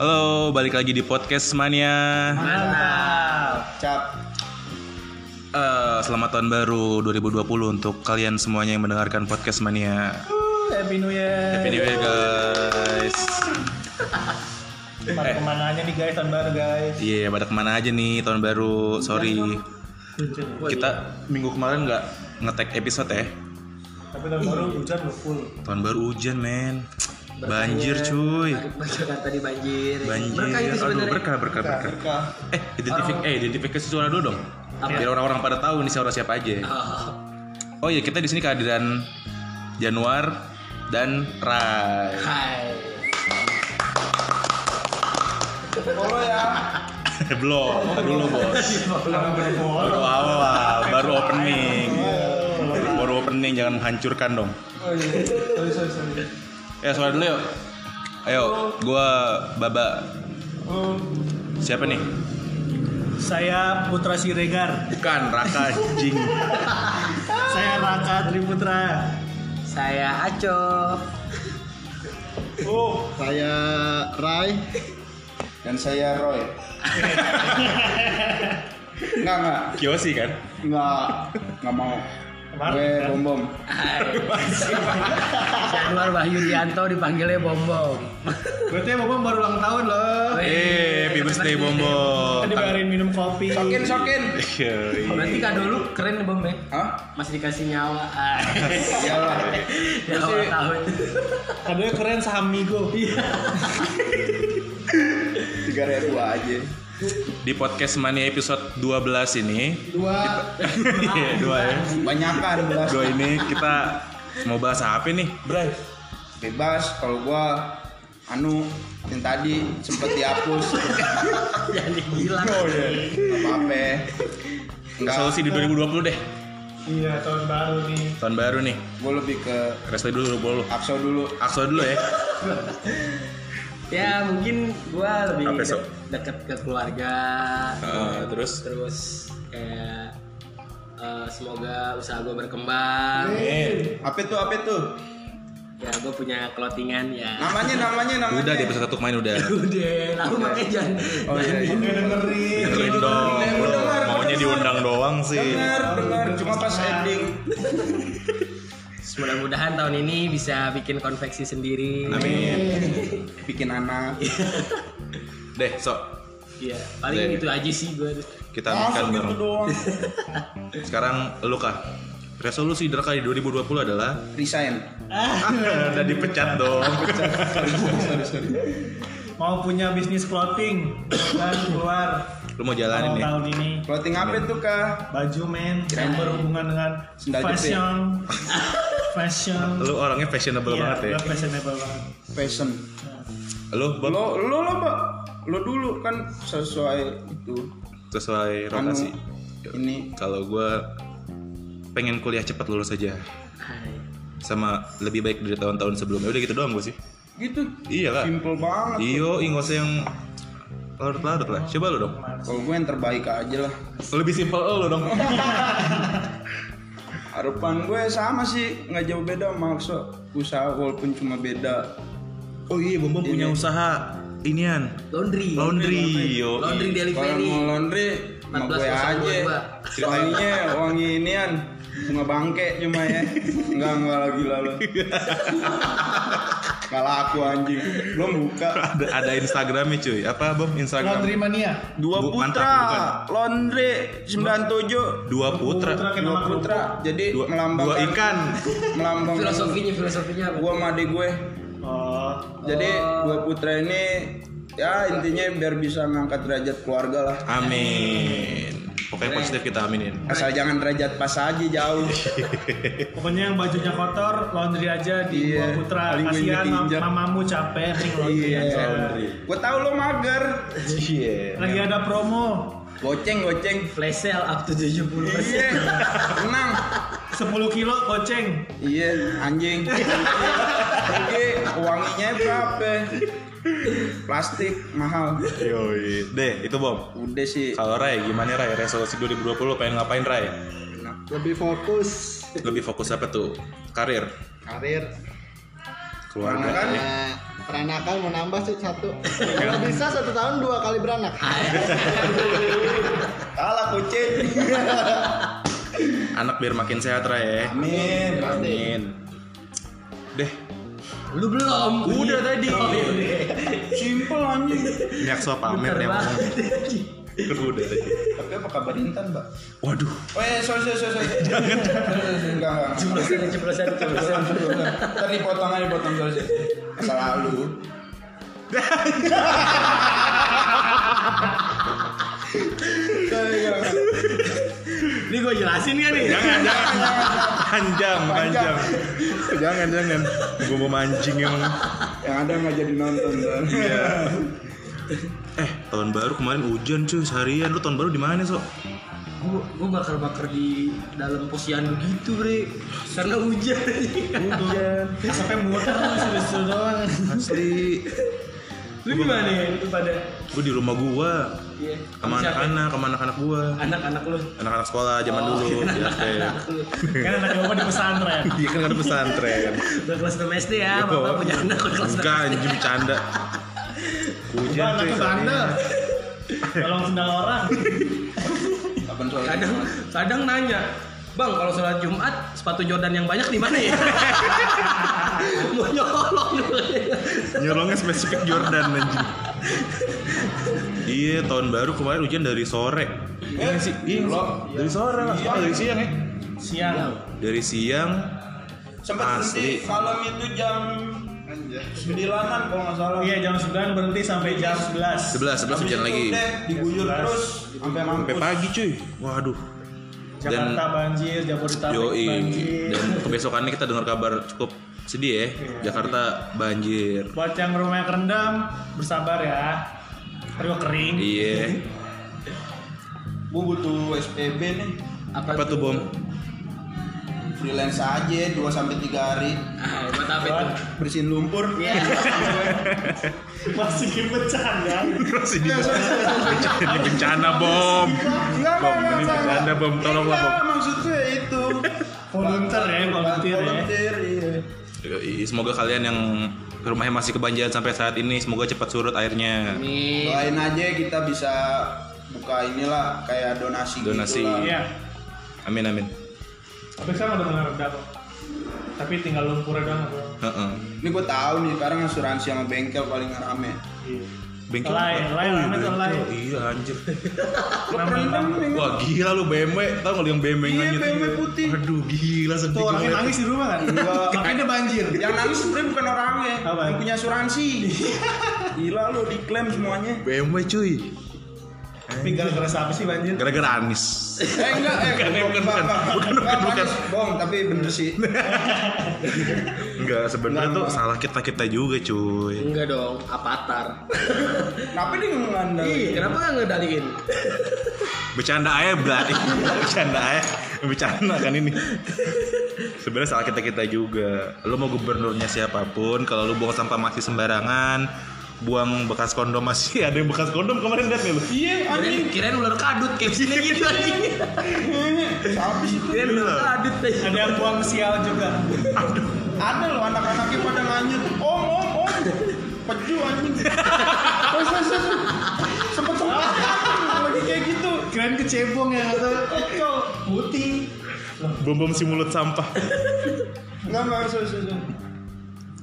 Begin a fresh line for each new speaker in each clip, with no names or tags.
Halo, balik lagi di podcast Mania.
Mantap. Cap.
Eh, selamat tahun baru 2020 untuk kalian semuanya yang mendengarkan podcast Mania.
Uh, Happy New Year.
Happy New Year guys. Eh,
Pada kemana aja nih guys tahun baru guys.
Iya, pada kemana aja nih tahun baru? Sorry. Kita minggu kemarin nggak ngetek episode ya.
Tapi tahun baru hujan loh full.
Tahun baru hujan, men. Banjir cuy.
Jakarta di banjir.
Banjir.
Berkah itu
Aduh,
sebenarnya.
berkah, berkah, berkah.
Berkah.
Eh, identifik eh identifikasi suara dulu dong. Biar orang-orang pada tahu nih suara siapa aja. Oh
Oh,
iya, kita di sini kehadiran Januar dan Rai.
hai.
Follow ya.
Belum, dulu bos.
Jangan berbohong.
Baru awal, baru opening. Baru opening jangan menghancurkan dong.
Oh iya. Sorry sorry sorry.
Ya suara dulu yuk. Ayo, gua Baba.
Oh,
Siapa nih?
saya Putra Siregar.
Bukan Raka anjing.
Saya Raka Triputra.
Saya Aco.
Oh,
Saya Rai dan saya Roy. Enggak enggak
Kiyoshi kan?
enggak enggak mau.
Kemarin,
Gue
kan?
bom bom.
Hai. Januar Wahyu Rianto dipanggilnya Bombom.
berarti Bobom baru ulang tahun loh.
Eh, happy birthday Bombo.
Kan dibayarin minum kopi.
Sokin sokin.
Berarti kado lu keren nih Bom ya.
Hah?
Masih dikasih nyawa. Ah,
Iyalah.
Ya awal tahun.
Kadonya keren saham Migo.
Tiga ribu aja.
Di podcast Mania episode 12 ini,
Dua.
iya, dua ya.
Banyakan belas.
Dua ini kita mau bahas apa nih, Bray?
Bebas kalau gua anu yang tadi sempet dihapus
Jadi gila.
apa apa enggak
Resolusi di 2020 deh.
Iya, tahun baru nih.
Tahun baru nih.
gue lebih ke
Resolusi dulu dulu.
akso dulu
Akso dulu ya.
Ya mungkin gua lebih
Apa, Sok?
de- deket ke keluarga.
Eh, terus
Terus kayak eh, semoga usaha gua berkembang.
Eh.
apa tuh apa tuh
Ya gua punya clothingan ya.
namanya namanya namanya
udah di episode satu main udah.
Udah, lalu makanya jangan.
oh iya,
Oke,
iya.
Eh. dengerin.
Dengerin dong. bro. Maunya diundang doang sih.
Dengar, dengar, cuma pas ending.
Mudah-mudahan tahun ini bisa bikin konveksi sendiri.
Amin.
Bikin anak.
Deh, sok
Iya, paling
Iya.
itu aja sih gue.
kita makan bareng.
gitu doang.
Sekarang lu kah? Resolusi Draka di 2020 adalah
Resign.
udah dipecat dong.
Mau punya bisnis clothing dan keluar
Lu mau
tahun
jalanin nih.
tahun ini
Clothing apa itu kah?
baju men yang berhubungan dengan
Sendal jepit.
fashion, fashion.
Lu orangnya fashionable
Iya,
banget ya.
gua fashionable banget.
Fashion.
Lu Bob,
Lo lo lo Pak. Lo dulu kan sesuai itu.
sesuai
Anu,
rotasi.
ini
Kalau gua pengen kuliah cepat lulus aja
Hai.
sama lebih baik dari tahun-tahun sebelumnya. Udah gitu doang gua sih.
gitu
Iya lah.
simple banget.
Iyo, ingos yang larut-larut lah. Coba lu dong.
Kalau gue yang terbaik aja lah.
Lebih simpel lu dong.
Harapan gue sama sih, nggak jauh beda maksud usaha walaupun cuma beda.
Oh iya, Bombom punya usaha inian.
Laundry.
Laundry, yo.
Laundry
Kalau
delivery.
mau laundry, sama gue
14.02,
aja.
Pak.
Wanginya wangi inian bunga bangke cuma ya. Enggak enggak lagi lalu. Enggak laku anjing. Belum buka.
ada, ada Instagramnya cuy apa bom Instagram
Laundry mania.
Dua
Bu-
putra,
mantap, bukan.
laundry 97.
dua putra
Putra kena
Dua
makhluk.
putra, kan? jadi
dua, dua
melambangkan
ikan
melambangkan
Filosofinya, filosofinya apa?
gue sama adik gue.
Oh,
Jadi dua putra ini ya intinya biar bisa ngangkat derajat keluarga lah.
amin pokoknya positif kita aminin
Asal jangan derajat pas aja jauh.
pokoknya yang bajunya kotor laundry aja di
Iya,
Gua putra.
paling gua
Kasihan mam-
inget-inget.
mamamu capek mending laundry aja.
Gue tau lo mager.
iya
Lagi ada promo
Goceng, goceng.
Flash sale up to 70
Iya, tenang.
10 kilo goceng.
Iya, anjing. Oke, wanginya berapa? Plastik mahal.
Yoi. deh itu bom
Udah sih.
kalau Ray gimana Ray resolusi 2020 pengen ngapain Ray
Enak.
lebih fokus
lebih fokus apa tuh karir
karir
keluarga
Karena kan
ya.
Nah, peranakan mau nambah sih satu. Kalau bisa satu tahun dua kali beranak.
kalah kucing.
anak biar makin sehat Ra ya
Amin.
amin deh
Lu belum. Iya. Oh,
udah tadi
Simple anjing.
ini Aksa pamer
Bentar
yang ngomong
banget.
udah tadi
Tapi apa kabar Intan, Mbak?
waduh
Oh ya, sorry, sorry, sorry. sorry. Enggak, enggak.
Jeblosan, jeblosan, jeblosan.
Tadi potong aja, potong sorry. sorry. Masa lalu. Sorry, enggak, enggak.
Ini gue jelasin gak nih?
jangan jangan panjang panjang
Panjang.
jangan jangan gue mau mancing emang
Yang ada nggak jadi nonton kan? Iya.
eh tahun baru kemarin hujan cuy seharian lu tahun baru di mana sok
Gue gue bakar bakar di dalam posyandu gitu bre. Karena hujan. Hujan.
Sampai muter lu seru-seru doang.
asli
Lu gimana ya? Lu pada.
gue di rumah gua
Iya.
sama
Siapa?
anak-anak sama anak-anak gua
Anak-anak lu.
anak-anak sekolah zaman dulu ya kayak
Kan anak bapak di pesantren.
Iya kan ada pesantren.
Udah kelas 6 SD ya, bapak punya anak udah kelas 6
Enggak anjing bercanda. Hujan
Gua anaknya
Iya, cuy,
bandel. Tolong sendal orang.
Kapan soal
kadang kadang nanya bang kalau sholat Jumat sepatu Jordan yang banyak di mana ya mau nyolong
Nyolongnya spesifik Jordan anjing. Iya, tahun baru kemarin hujan dari sore.
Iya sih,
Iya, dari sore lah. Soalnya dari siang ya.
Siang.
Dari siang
Sempat berhenti
Asli.
malam itu jam sembilanan kalau nggak salah.
Iya jam 9 berhenti sampai jam 11.
11 11
Habis
hujan
itu
lagi.
deh, diguyur
Sebelas.
terus sampai
Sampai
mampus.
pagi cuy. Waduh. Dan
Jakarta banjir, Jabodetabek
yoi.
banjir.
Dan kebesokannya kita dengar kabar cukup sedih ya. Jakarta banjir.
Buat yang rumahnya kerendam, bersabar ya. Terus kering.
Iya.
Gue butuh SPB nih.
Apa tuh bom?
Freelance aja 2 sampai 3 hari.
ah buat apa itu
Buat
Bersihin lumpur.
Iya.
masih di bercanda.
Terus ini ini bencana bom.
Enggak,
Bom, ini bercanda bom. Tolonglah bom.
iya, maksudnya itu.
Volunteer ya, volunteer ya.
Volunteer, iya.
Yoi, Semoga kalian yang rumahnya masih kebanjiran sampai saat ini semoga cepat surut airnya.
Amin.
Doain aja kita bisa buka inilah kayak donasi
Donasi.
gitu lah.
Iya.
Amin amin.
Tapi sekarang udah mulai reda kok. Tapi tinggal lumpurnya doang. Bro.
Heeh.
Ini gue tahu nih sekarang asuransi sama bengkel paling rame.
Iya.
Bengkel.
Lain, lain,
Oh, iya,
lain,
bengkel.
lain.
Iya anjir.
Enam enam.
Wah gila lu BMW, tau gak lu yang BMW
Iya,
nganyut?
BMW putih.
Aduh gila sedih.
Tuh orangnya
banget.
nangis di rumah kan?
Enggak.
Makanya dia banjir.
Yang nangis sebenarnya bukan orangnya,
Apa?
yang punya asuransi. Gila lo diklaim semuanya.
BMW cuy.
Tapi gara-gara siapa sih banjir?
Gara-gara Anis.
Eh enggak, eh
Bukan, bukan,
bohong, Pak,
bukan.
Pak.
Bukan, bukan,
Pak,
bukan.
Pak, Bohong, tapi bener sih.
Enggak sebenarnya
Enggak,
tuh
enggak.
salah kita kita juga cuy.
Enggak dong, avatar.
Kenapa dia ngandalin?
Iya, kenapa nggak ngedaliin?
Bercanda aja berarti. Bercanda aja. Bercanda kan ini. Sebenarnya salah kita kita juga. Lu mau gubernurnya siapapun, kalau lu buang sampah masih sembarangan, buang bekas kondom masih ada yang bekas kondom kemarin lihat nih lu.
Iya, anjing.
Kirain, kirain ular kadut, captionnya gitu anjing.
Siapa sih itu?
Kirain ular kadut deh.
Ada yang buang sial juga.
Ada loh anak-anaknya pada nganyut. Om, om, om. Peju anjing. Terus, terus, terus. Sempet sempet lagi kayak gitu.
Keren kecebong ya atau kecil putih.
Bom bom si mulut sampah.
Enggak, enggak, sorry, sorry, sorry.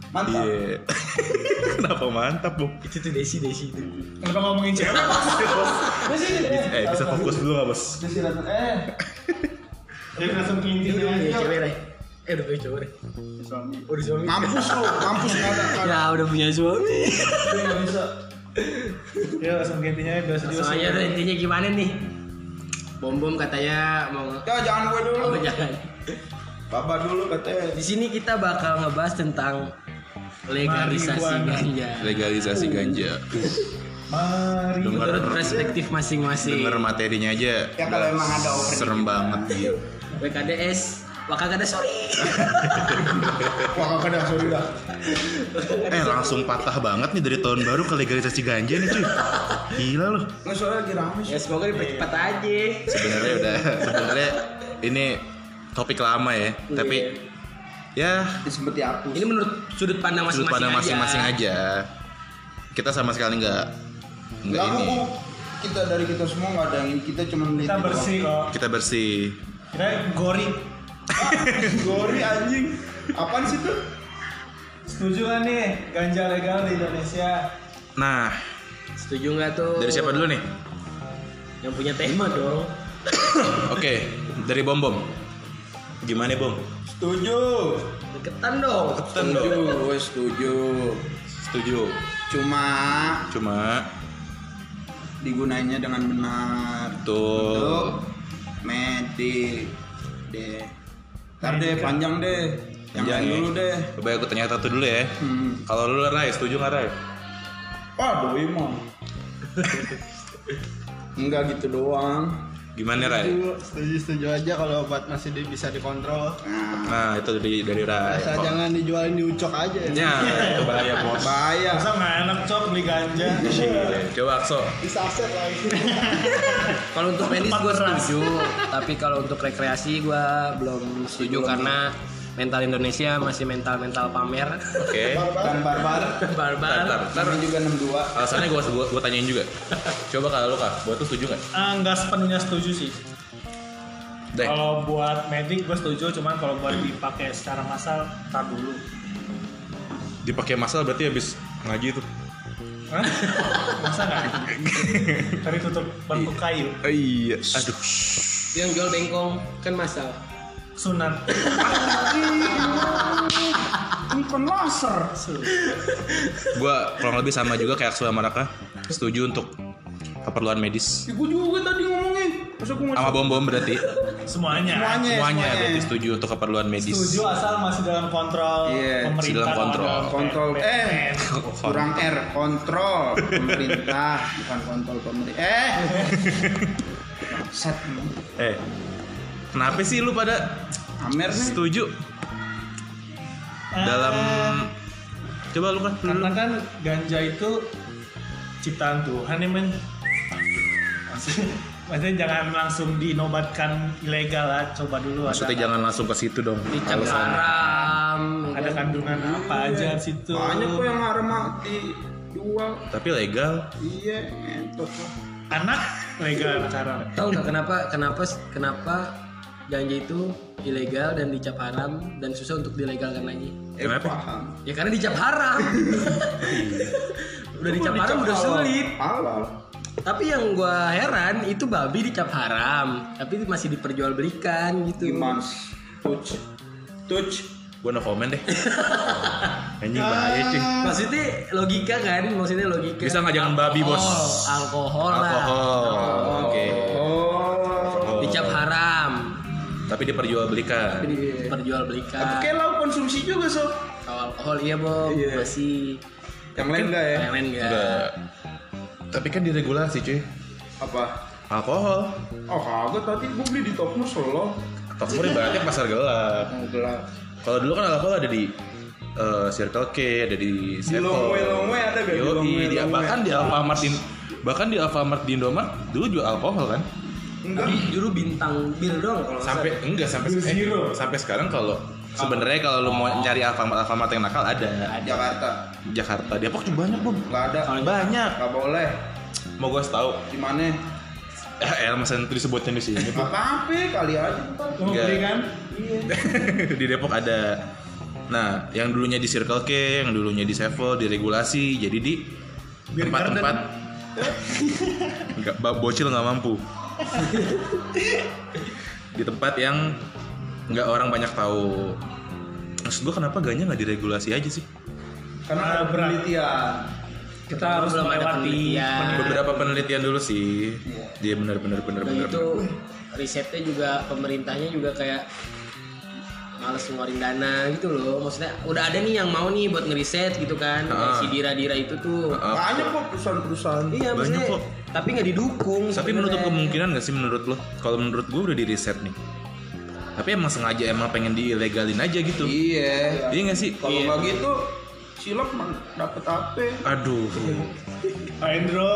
Mantap.
Iya. Kenapa mantap, Bu?
Itu tuh Desi Desi itu.
Kenapa ngomongin cewek?
Terus ini,
Eh, bisa fokus dulu nggak, Bos?
Terus ini, eh.
Dia langsung
Ini
kelinting
udah punya
aja.
cewek Ray. Eh udah punya cowok Ray. Udah suami.
Mampus lo, mampus nggak ada. nggak ada.
Ya udah punya suami.
Gue nggak bisa.
Dia langsung kelinting aja biasa dia.
Soalnya tuh intinya gimana nih? Bom bom katanya mau
Ya jangan gue dulu.
apa jangan.
Baba dulu katanya.
Di sini kita bakal ngebahas tentang legalisasi
Marihuana.
ganja.
Legalisasi ganja.
Mari.
Dengar
Menurut perspektif masing-masing.
denger materinya aja.
Ya, kalau emang ada opening.
serem banget gitu.
BKDS, maka kada sorry.
Wah kakak dah, sorry dah.
Eh langsung patah banget nih dari tahun baru ke legalisasi ganja nih cuy. Gila loh.
Nggak soalnya lagi rame sih.
ya semoga dipercepat aja.
Sebenarnya udah sebenarnya ini topik lama ya, tapi ya
Ya, seperti aku.
Ini menurut sudut pandang
sudut
masing-masing
pandang
aja.
masing-masing aja. Kita sama sekali nggak nggak
Nggak
ini.
kuku. Kita dari kita semua nggak ada yang ini. Kita cuma
Kita
melihat
bersih kok.
Kita bersih.
Kita gori.
Gori anjing. Apaan sih tuh?
Setuju kan nih ganja legal di Indonesia?
Nah,
Setuju nggak tuh?
dari siapa dulu nih?
Yang punya tema dong.
Oke, dari Bom Bom. Gimana Bom?
Setuju.
Deketan dong.
Setuju. Gue setuju.
Setuju.
Cuma
Cuma
digunainnya dengan benar. Oh.
tuh
Untuk medik deh. Ntar deh panjang deh. Yang
Panjang
lain
ya.
dulu deh.
Coba aku tanya satu dulu ya.
Hmm.
Kalau lu Rai, setuju nggak Rai?
Wah doi mah. Enggak gitu doang.
Gimana Rai?
Setuju, setuju, setuju aja kalau obat masih di- bisa dikontrol.
Nah, iya,
Nah itu dari dari Rai.
Asal
Kok-
jangan dijualin di ucok aja. ya.
Ya, itu bahaya bos.
bahaya.
Masa nggak enak cok beli ganja?
Coba Akso.
Bisa aset lagi.
Kalau untuk medis gue setuju, tapi kalau untuk rekreasi gue belum setuju karena mental Indonesia masih mental-mental pamer,
Oke.
Dan Kan barbar.
Ntar, ntar,
barbar.
ntar.
Ini juga 62.
Alasannya gue gua, gua tanyain juga. Coba kalau lu kak, buat tuh setuju nggak?
Ah, nggak sepenuhnya setuju sih.
Deh.
Kalau buat medik gue setuju, cuman kalau buat dipakai secara massal tar dulu.
Dipakai masal berarti habis ngaji tuh.
Hah? Masa nggak? Tadi tutup bangku kayu,
Iya. Aduh.
Yang jual bengkong kan masal.
sunat.
Ini kan laser.
Gue kurang lebih sama juga kayak Aksu sama Raka. Setuju untuk keperluan medis.
Ya, gua juga tadi ngomongin. Masa gua nggak
Sama bom bom berarti.
Semuanya.
Semuanya,
Semuanya
semuanya.
berarti setuju untuk keperluan medis.
Setuju asal masih dalam kontrol
Iya,
pemerintah.
masih dalam
kalau
kontrol.
dalam
Kontrol,
PP.
eh. kurang R kontrol pemerintah bukan kontrol pemerintah eh set
Eh. Kenapa sih lu pada
Amer nih
setuju
Eh,
dalam Coba lu kan dulu.
Karena kan ganja itu ciptaan Tuhan ya men. Maksudnya- Maksudnya jangan langsung dinobatkan ilegal lah, coba dulu
Maksudnya
ada,
jangan langsung ke situ dong.
Dicap
Alasan.
haram.
ada kandungan apa aja di situ.
banyak kok yang arma dijual
Tapi legal.
iya entot lah.
Anak legal sekarang.
Tahu nggak kenapa kenapa kenapa janji itu ilegal dan dicap haram dan susah untuk dilegalkan lagi?
eh
Kenapa?
paham
Ya karena dicap haram. udah dicap haram udah sulit.
halal
Tapi yang gua heran itu babi dicap haram, tapi masih diperjualbelikan gitu.
gimana touch touch
Gue no komen deh. Anjing bahaya cing.
Maksudnya logika kan, maksudnya logika.
Bisa nggak jangan babi, Bos?
Alkohol, Alkohol lah.
Alkohol. Oke.
oh
Alkohol.
Dicap Iya. haram,
Tapi diperjualbelikan.
diperjualbelikan.
tapi kayak Iya. lo konsumsi juga sob
Kalau alkohol iya, Bob,
Iya.
masih
yang lain enggak ya
yang lain nggak.
Enggak. Tapi kan diregulasi cuy.
apa
Alkohol.
oh kagak tadi gua beli di Tokmus loh
Tokmur ibaratnya pasar gelap.
yang gelap
Kalau dulu kan alkohol ada di eh, Circle K, ada di
di Longway Longway ada gak
Yoi, di,
Longway?
bahkan di Alfamart di- bahkan di Alfamart di Indomart dulu jual alkohol kan?
enggak
Tapi Dulu bintang bir dong kalau nggak
Sampai enggak sampai eh, sampai sekarang kalau sebenarnya kalau lu mau
Oh.
cari Alfamart Alfamart yang nakal ada.
Jakarta
Jakarta, Depok juga banyak, Bom.
nggak ada
Banyak.
nggak boleh
Mau gue tahu.
di mana
Eh, eh, masa itu disebutnya di sini.
apa apa kali aja ntar.
Lo mau
Enggak.
beli kan?
di Depok ada. Nah, yang dulunya di Circle K, yang dulunya di Sevel, diregulasi, jadi di tempat-tempat nggak ba- bocil nggak mampu. di tempat yang nggak orang banyak tahu. Maksud gua kenapa ganya nggak diregulasi aja sih?
karena ada
Berat.
penelitian
salah. kita harus
Belum ada
melewati
penelitian.
Beberapa penelitian dulu sih. Iya, Dia benar-benar
Dan
benar-benar.
Nah, itu risetnya juga pemerintahnya juga kayak males ngeluarin dana gitu loh maksudnya udah ada nih yang mau nih buat ngeriset gitu kan Kayak
Ah.
si dira-dira itu tuh
Ah.
banyak kok perusahaan-perusahaan
iya maksudnya
Banyak kok.
tapi nggak didukung
Tapi
sebenarnya.
menutup kemungkinan gak sih menurut lo? Kalau menurut gue udah di reset nih. Tapi emang sengaja emang pengen dilegalin aja gitu.
iya
Iya gak sih?
kalau nggak gitu cilok mah dapat apa
Aduh.
Iya.
Pak Endro,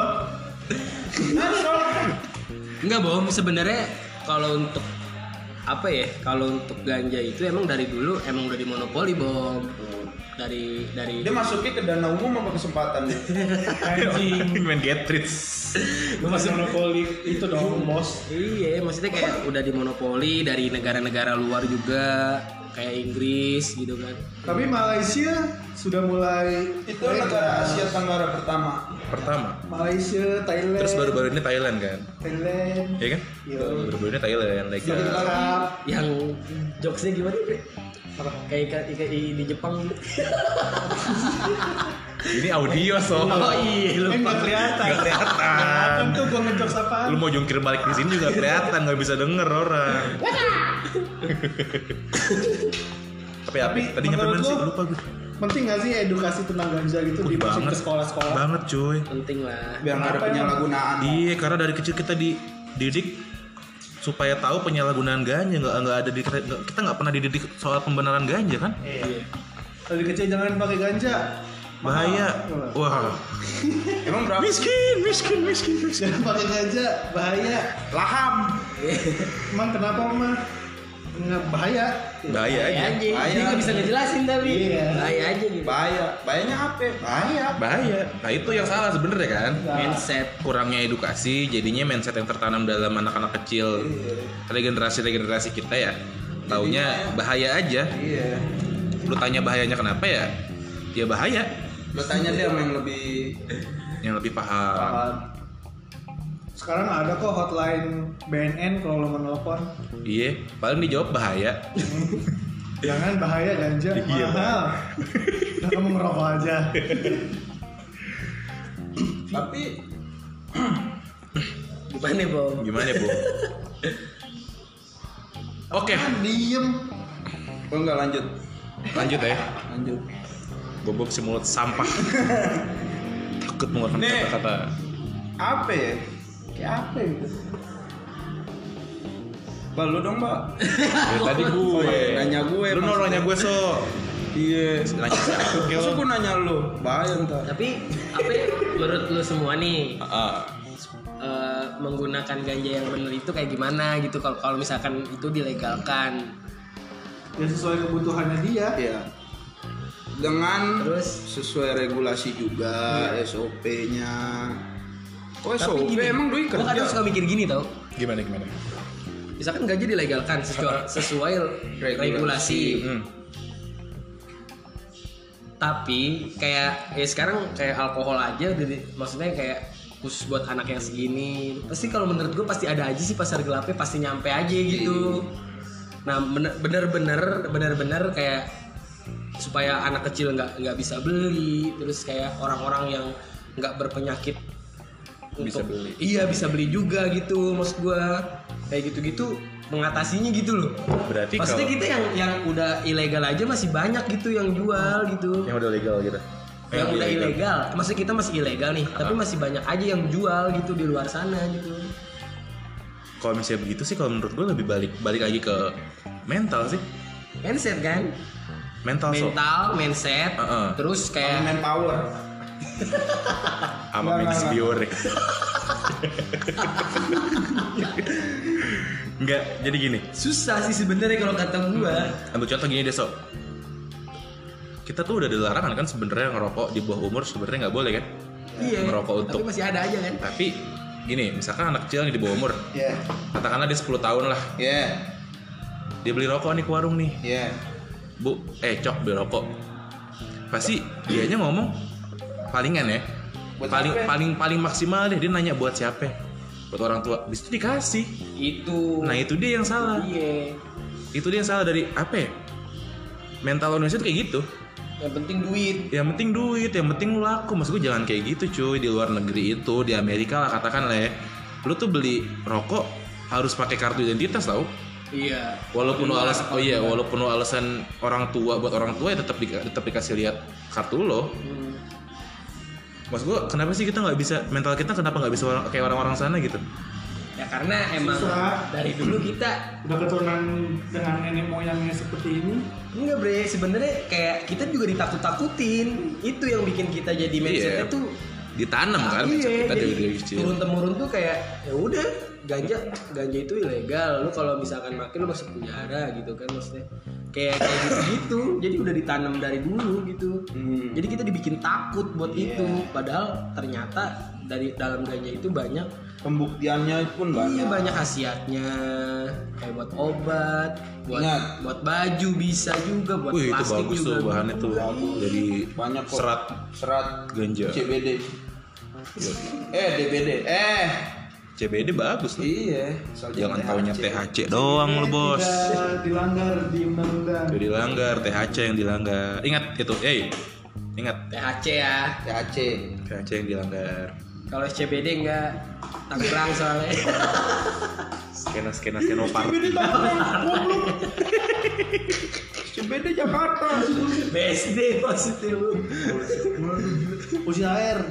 Nah, Sob.
nggak bohong sebenarnya kalau untuk apa ya kalau untuk ganja itu emang dari dulu emang udah dimonopoli bom dari dari
Dia masuknya ke dana umum apa kesempatan dia?
anjing
main Getrich.
lu masih monopoli itu dong bos
Iya, maksudnya kayak udah dimonopoli dari negara-negara luar juga, kayak Inggris gitu kan.
Tapi Malaysia sudah mulai
Itu negara Asia Tenggara pertama.
Pertama.
Malaysia, Thailand.
Terus baru-baru ini Thailand kan?
Thailand.
Iya kan?
Iya.
Baru-baru ini Thailand like
Semakin
uh,
lengkap.
Yang jokesnya gimana? Bre?
Apa?
Kayak ikan ikan i- di Jepang. gitu.
ini audio so.
Oh iya,
Eh,
lupa.
nggak kelihatan
Nggak kelihatan.
Kelihatan tuh gua ngejokes apa
Lu mau jungkir balik di sini juga kelihatan nggak bisa denger orang. Tapi apa?
Tapi
Tadi nyampe
menurut
mana sih?
lu-
Lupa gue.
Penting nggak sih edukasi tentang ganja gitu
Wih,
dimasukin
banget.
ke sekolah-sekolah?
Banget cuy.
Penting lah.
Biar nggak ada
Kenapa emang?
penyalahgunaan.
Iya, karena dari kecil kita dididik supaya tahu penyalahgunaan ganja nggak nggak ada di nggak- kita nggak pernah dididik soal pembenaran ganja kan
Iya.
Lebih kecil jangan pakai ganja.
bahaya wah
Emang berapa?
miskin miskin miskin miskin
Jangan pakai ganja, bahaya.
Laham.
Emang kenapa mah? Nggak bahaya.
bahaya
Iya,
aja
Bahaya aja.
Bahaya.
Dia nggak bisa ngejelasin tapi.
Iya.
Bahaya aja gitu.
Bahaya. Bahayanya apa? Bahaya.
bahaya nah itu yang salah sebenarnya kan
Mindset.
kurangnya edukasi jadinya mindset yang tertanam dalam anak-anak kecil Iya. regenerasi regenerasi kita ya taunya bahaya aja
Iya.
lu tanya bahayanya kenapa ya ya bahaya
Lo tanya dia sama yang lebih
yang lebih paham
Sekarang ada kok hotline BNN kalau lo menelpon.
iya paling dijawab bahaya
Jangan bahaya ganja,
Iya.
mahal. Udah kamu ngerokok aja.
tapi
Gimana, Bom?
gimana bu oke
Diem.
gue nggak oh, lanjut
lanjut ya
lanjut
bobok si mulut sampah takut mengeluarkan
Nih.
kata-kata
apa ya kayak apa gitu Bal, lu dong, Mbak.
Dari tadi
Oh,
gue
iya. Nanya gue,
lu nol
maksudnya.
nanya gue so
Iya.
nanya siapa
Masa gue nanya lu? Bahaya ntar.
Tapi apa ya, menurut lu semua nih
Ah,
eh, menggunakan ganja yang benar itu kayak gimana gitu kalau kalau misalkan itu dilegalkan
Ya sesuai kebutuhannya dia.
Iya. Dengan
terus
sesuai regulasi juga, SOP-nya. Kok SOP?
Iya. gini,
Emang doi
gua kadang
kerja?
suka mikir gini tau
gimana gimana
misalkan gaji dilegalkan sesuai, sesuai
Regulasi.
regulasi
Hmm.
tapi kayak ya sekarang kayak alkohol aja udah di- maksudnya kayak khusus buat anak yang segini pasti kalau menurut gue pasti ada aja sih pasar gelapnya pasti nyampe aja
Iya,
gitu nah bener- bener-bener bener-bener kayak supaya anak kecil nggak nggak bisa beli terus kayak orang-orang yang nggak berpenyakit
Bisa beli.
iya bisa beli juga gitu maksud gue kayak gitu-gitu mengatasinya gitu loh
Berarti
maksudnya
kalau-
kita yang yang udah ilegal aja masih banyak gitu yang jual gitu
yang udah legal gitu
yang udah ilegal. Maksudnya kita masih ilegal nih, tapi masih banyak aja yang jual gitu di luar sana gitu.
kalau misalnya begitu sih kalau menurut gue lebih balik balik lagi ke mental sih
Mindset kan?
mental, so
Mental, mindset,
Heeh.
terus kayak
Manpower.
sama medis biore Enggak, jadi gini
susah sih sebenarnya kalau kata gua.
Ambil contoh gini deh, Sob. Kita tuh udah ada larangan kan sebenarnya ngerokok di bawah umur sebenarnya nggak boleh kan?
Iya.
Ngerokok untuk.
Tapi masih ada aja kan?
Tapi gini, misalkan anak kecil nih di bawah umur,
Iya.
katakanlah dia 10 tahun lah,
Iya.
dia beli rokok nih ke warung nih.
Iya.
Bu, eh cok beli rokok. Pasti dianya ngomong palingan ya.
Buat
paling
siapa?
paling paling maksimal deh dia nanya buat siapa? Buat orang tua. Habis itu dikasih.
Itu.
Nah, itu dia yang salah.
Iya.
Itu dia yang salah dari apa ya? Mental Indonesia tuh kayak gitu.
Yang penting duit.
yang penting duit yang penting lu laku maksud gue jangan kayak gitu cuy di luar negeri itu di Amerika lah katakan lah ya lu tuh beli rokok harus pakai kartu identitas tau
Iya.
walaupun lu alas oh iya walaupun lu alasan orang tua buat orang tua ya tetap di, tetap dikasih lihat kartu lo
Hmm.
maksud gue kenapa sih kita nggak bisa mental kita kenapa nggak bisa orang- kayak orang-orang sana gitu
Ya karena emang
Susah.
dari dulu kita
Udah keturunan dengan nenek moyangnya seperti ini.
Enggak bre, sebenarnya kayak kita juga ditakut-takutin Itu yang bikin kita jadi mindset
Iya.
itu
ditanam kan mindset
Iya,
kita
jadi
dari dari kecil
turun temurun tuh kayak ya udah ganja ganja itu ilegal lu kalau misalkan makin lu masuk penjara gitu kan maksudnya kayak kayak gitu, gitu jadi udah ditanam dari dulu gitu
Hmm.
jadi kita dibikin takut buat
Iya.
itu padahal ternyata dari dalam ganja itu banyak
Pembuktiannya pun
Iya
banyak.
banyak khasiatnya kayak buat obat, buat
Ingat.
buat baju bisa juga, buat
Iya. Wih itu
plastik
bagus
juga.
tuh bahannya tuh jadi
Banyak kok.
serat
Serat
ganja. Iya.
CBD. eh DBD. Eh.
CBD bagus tuh.
Iya. soal
Jangan
THC.
taunya THC doang lu bos.
Tidak dilanggar di undang-undang.
Jadi dilanggar THC yang dilanggar. Ingat itu, eh. Ingat
THC ya.
THC.
THC yang dilanggar.
Kalau SCBD enggak Tangerang soalnya.
Skena skena skenopar.
CBD Tangerang, goblok. CBD Jakarta.
BSD positif lu.
Usia air.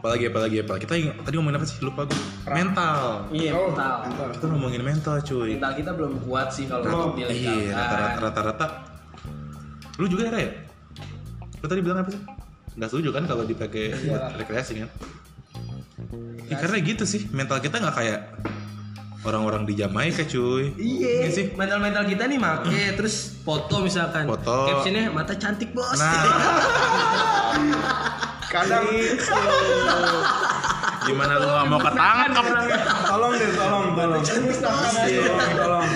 Apalagi apalagi apalagi. Kita ing- tadi ngomongin apa sih? Lupa gue. Mental.
Iya,
Oh,
mental.
mantap.
Kita ngomongin mental cuy.
Mental kita belum kuat sih kalau untuk
Iya rata-rata
dilegalkan.
rata-rata. Lu juga ya? Lu tadi bilang apa sih? Gak setuju kan kalau
Iya.
dipakai buat rekreasi kan? Ya, karena gitu sih mental kita nggak kayak orang-orang di Jamaika cuy.
Iya,
sih.
mental-mental kita nih make terus foto misalkan.
Foto.
Captionnya mata cantik, Bos.
Nah,
Kadang
gimana lu nggak mau ketangkep?
tolong deh tolong tolong. Tolong tolong.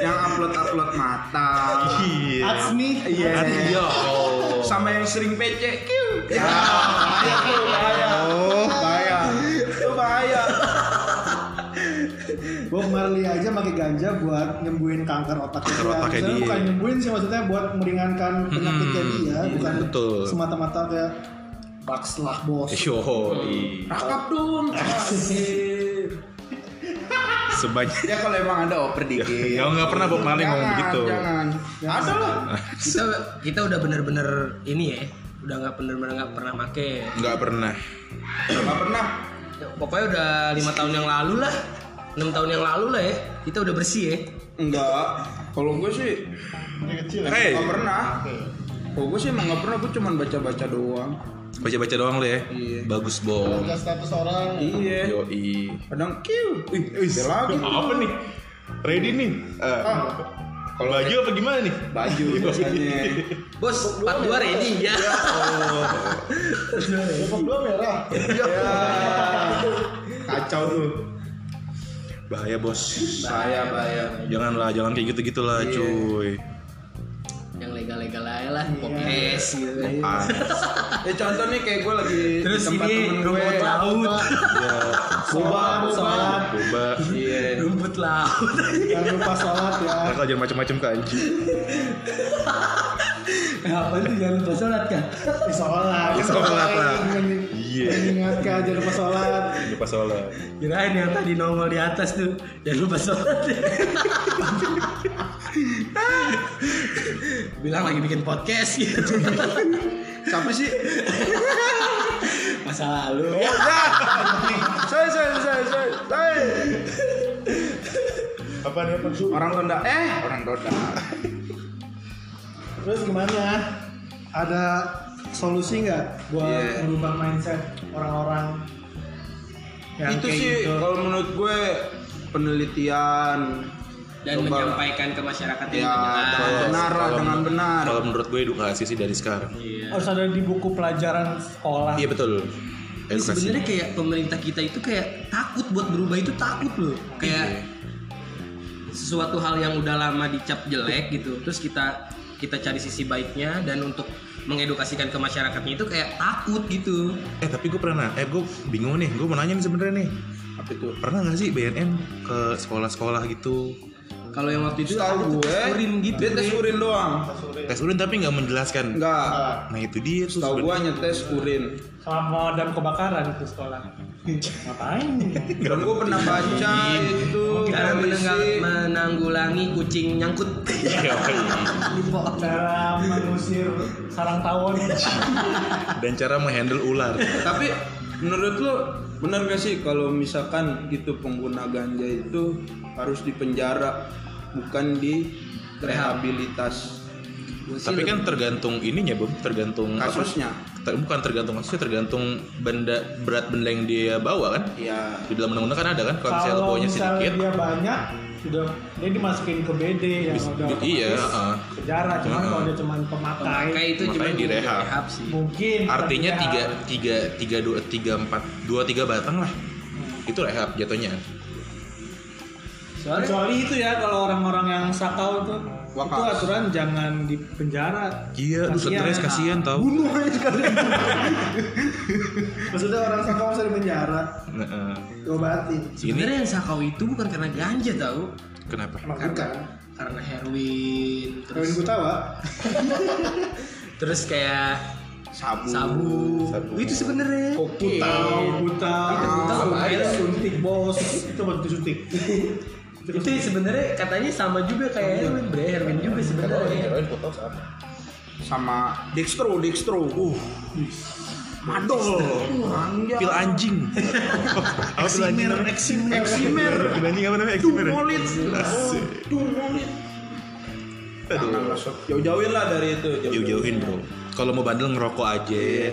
Yang upload upload mata.
Iya.
Atsmi.
Iya.
Ya Allah.
Sama yang sering PC. Kiu. Ya. Bahaya tuh bahaya.
Oh.
Bahaya. Itu bahaya.
Bob Marley aja pakai ganja buat nyembuhin kanker otak
Kanker
dia.
otaknya
Misalnya
dia.
bukan nyembuhin sih maksudnya buat meringankan penyakitnya
Mm-mm.
dia,
Iya,
bukan
betul.
semata-mata kayak Bucks lah bos.
Yoi.
Rakap dong.
Sebanyak.
Ya kalau emang ada oper dikit.
Ya nggak pernah Bob Marley ngomong gitu.
Jangan,
begitu.
Jangan. Ada lah.
kita kita udah bener-bener ini ya udah nggak bener-bener nggak pernah make
Nggak pernah.
Nggak pernah.
Ya, pokoknya udah lima tahun yang lalu lah enam tahun yang lalu lah ya kita udah bersih ya
Enggak. Kalau gue sih
Ini kecil. ya.
Hey,
nggak pernah. Kalau gue sih emang nggak pernah. Gue cuman baca-baca doang.
baca-baca doang lu ya.
Iya.
Bagus bom.
Ada status orang.
Iya.
Yoi.
Kadang kiu. Ih, ada lagi.
Apa nih? Ready nih? Eh,
Ah.
Kalau baju apa gimana nih?
Baju biasanya.
bos part dua ready ya
Bokap dua merah.
Kacau tuh.
Bahaya bos.
Bahaya bahaya.
Janganlah, jangan kayak gitu-gitulah
Iya.
cuy.
yang legal-legal aja lah podcast gitu
Ah,
Ya contoh nih kayak gue lagi
terus
di tempat
ini
temen gue.
rumput laut
ya,
Sobat, sobat.
coba.
Iya.
rumput laut
Jangan lupa sholat ya.
Nah, kalau jangan macam-macam ke anjing.
apa itu jangan lupa sholat kan
Eh, Sholat.
Ya,
Iya.
sholat lah.
Mening-
Iya.
Mengingatkan jangan lupa sholat.
Lupa sholat.
kirain yang tadi nongol di atas tuh jangan lupa sholat bilang lagi bikin podcast gitu
Siapa sih?
masa lalu
Saya saya saya saya saya.
Apa nih apa?
Orang Ronda. Eh, orang Ronda.
Terus gimana? Ada solusi nggak buat
Iya.
merubah mindset orang-orang yang
Itu
kayak
sih
gitu?
kalau menurut gue penelitian
dan
Coba.
menyampaikan ke masyarakat yang
ya dengan
banyak
benar lah,
Kalau-
dengan benar.
Kalau menurut gue edukasi sih dari sekarang.
Iya.
harus ada di buku pelajaran sekolah.
Iya betul.
Ini
Edukasi.
sebenarnya kayak pemerintah kita itu kayak takut buat berubah itu takut loh. Kayak sesuatu hal yang udah lama dicap jelek gitu, terus kita kita cari sisi baiknya dan untuk mengedukasikan ke masyarakatnya itu kayak takut gitu.
Eh tapi gue pernah, eh gue bingung nih, gue mau nanya nih sebenarnya nih.
Apa itu?
Pernah nggak sih BNN ke sekolah-sekolah gitu
Kalau yang waktu itu
Tahu
ada tuh
gue.
tes urin gitu.
Dia tes
Be.
urin doang.
tes urin tapi nggak menjelaskan?
Enggak.
Nah itu dia tuh.
Tahu gue
sebenarnya.
hanya tes urin.
Sama pemadam kebakaran itu sekolah.
Iya.
Ngapain?
Dan gue pernah baca itu
Cara menengah-
komisi.
menanggulangi kucing nyangkut.
Iya, iya.
Cara mengusir sarang tawon.
Dan cara menghandle ular.
Tapi menurut lo benar gak sih kalau misalkan gitu pengguna ganja itu harus dipenjara bukan di rehabilitas
Gua sih
Tapi
lebih-
kan tergantung ininya, kan Bang. Tergantung apa?
Iya, kasusnya.
ter- bukan tergantung kasusnya tergantung benda berat benda yang dia bawa kan
Iya.
di dalam undang-undang kan ada kan kalau misalnya lo
Kalau
bawanya
misalnya
sedikit
dia banyak, udah dia dimasukin ke BD yang
bis-
udah
iya,
otomatis
heeh.
penjara. Cuman
Heeh.
kalau dia cuman pemakai,
Pemakai itu
Pemakai
cuma
direhab.
sih.
mungkin
artinya
tapi
tiga
ya,
tiga tiga dua tiga empat dua tiga batang lah itu rehab jatuhnya
Soalnya
Kecuali itu ya kalau orang-orang yang sakau itu
Wakaf.
itu aturan jangan di penjara.
iya lu stres kasihan tau
bunuh aja kalian maksudnya orang sakau masa di penjara
Nah, eh,
diobatin
ini
sebenarnya yang sakau itu bukan karena ganja tau,
kenapa
emang bukan
karena heroin
kalau
terus
gue tawa
terus kayak
Sabu.
sabu.
Sabu.
Itu sebenarnya.
Butau, butau,
Itu butau
sampai
bahaya.
suntik bos, itu bantu suntik.
Itu sebenarnya katanya sama juga kayak heroin, bre. Heroin juga sebenarnya.
Sama Dextro, Dextro. Uh. Madol.
pil anjing apa pil anjing
Eksimer,
namanya?
eksimer,
Eksimer.
pil anjing apa namanya eksimer ya?
Dumolit. Oh,
Asik.
Dumolit. Jangan
Aduh.
masuk. Jauh-jauhin lah dari itu.
jauh-jauhin bro kalau mau bandel ngerokok aja
Yang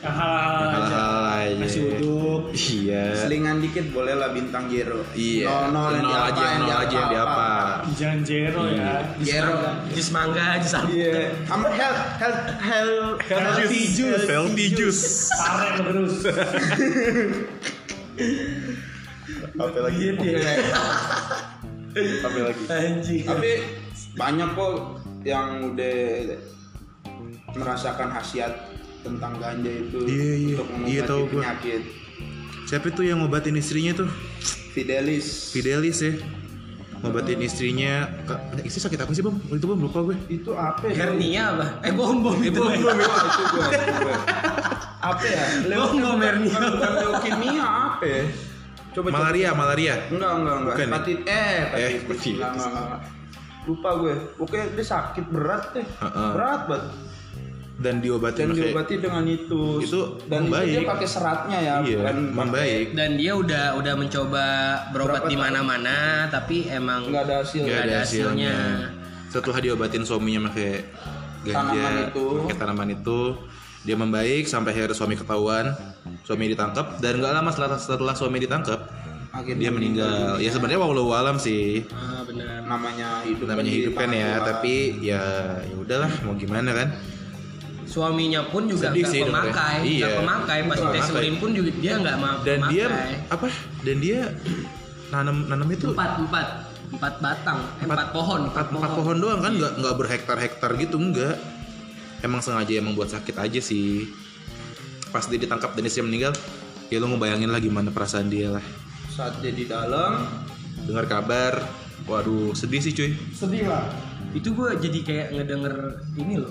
halal aja.
hal-hal aja
Nasi uduk.
iya
Selingan dikit boleh lah bintang Jero.
iya
Nol, nol, yang
aja
diapain,
nol aja yang diapa
Jangan jero
Iya.
ya.
Jero.
Jus mangga, jus apel.
Iya. Sama health, health, health,
healthy juice healthy juice
Parek lo terus.
Apa lagi? Apa lagi?
Anjing.
Tapi banyak kok yang udah merasakan khasiat tentang ganja itu
Iya, iya.
untuk
Iya,
mengobati
tahu gua.
penyakit.
siapa itu yang ngobatin istrinya tuh
Fidelis.
Fidelis ya ngobatin istrinya Kak, istri sakit apa sih bang Waktu itu bang lupa gue
itu apa ya?
Hernia apa? Eh, bom bom itu.
Belum, ya, itu gua, itu gua. apa ya?
Gua nggak hernia.
Bukan leukemia apa ya? Coba coba.
malaria malaria
Enggak, enggak, enggak.
Bukan ya?
Hepatitis eh,
Eh,
hepatitis.
hepatitis.
Enggak, enggak, enggak. Lupa gue. Oke, dia sakit berat deh.
Heeh.
Berat banget.
dan diobatin
Dan
pakai-
diobati dengan itu.
Itu
dan itu dia
membaik.
pakai seratnya ya,
iya
bukan
membaik
Dan dia udah udah mencoba berobat
Berapa
di
tahun?
mana-mana, tapi emang
enggak ada hasil.
nggak ada
ada hasilnya.
hasilnya setelah diobatin suaminya pakai
Tanaman
ganja
itu.
pakai tanaman itu dia membaik sampai akhirnya suami ketahuan suami ditangkap dan nggak lama setelah setelah suami ditangkap
Akhirnya
dia meninggal ya sebenarnya walau alam sih
Ah, benar.
namanya hidup
namanya
di
hidup kan ya
pangkuan.
tapi ya ya udahlah mau gimana kan
Suaminya pun juga
Sedih
nggak
sih hidupnya.
pemakai,
Iya.
nggak pemakai. Pas
Nggak
tes
pemakai.
urin pun juga dia nggak mau
dan
pemakai.
dia apa dan dia nanam nanam itu
empat empat empat batang, eh, empat, pohon,
empat, empat pohon doang kan nggak nggak berhektar hektar gitu nggak emang sengaja emang buat sakit aja sih pas dia ditangkap dan istrinya meninggal ya lo ngebayangin lah gimana perasaan dia lah
saat dia di dalam
dengar kabar waduh sedih sih cuy
Sedih lah.
Itu gue jadi kayak ngedenger ini loh,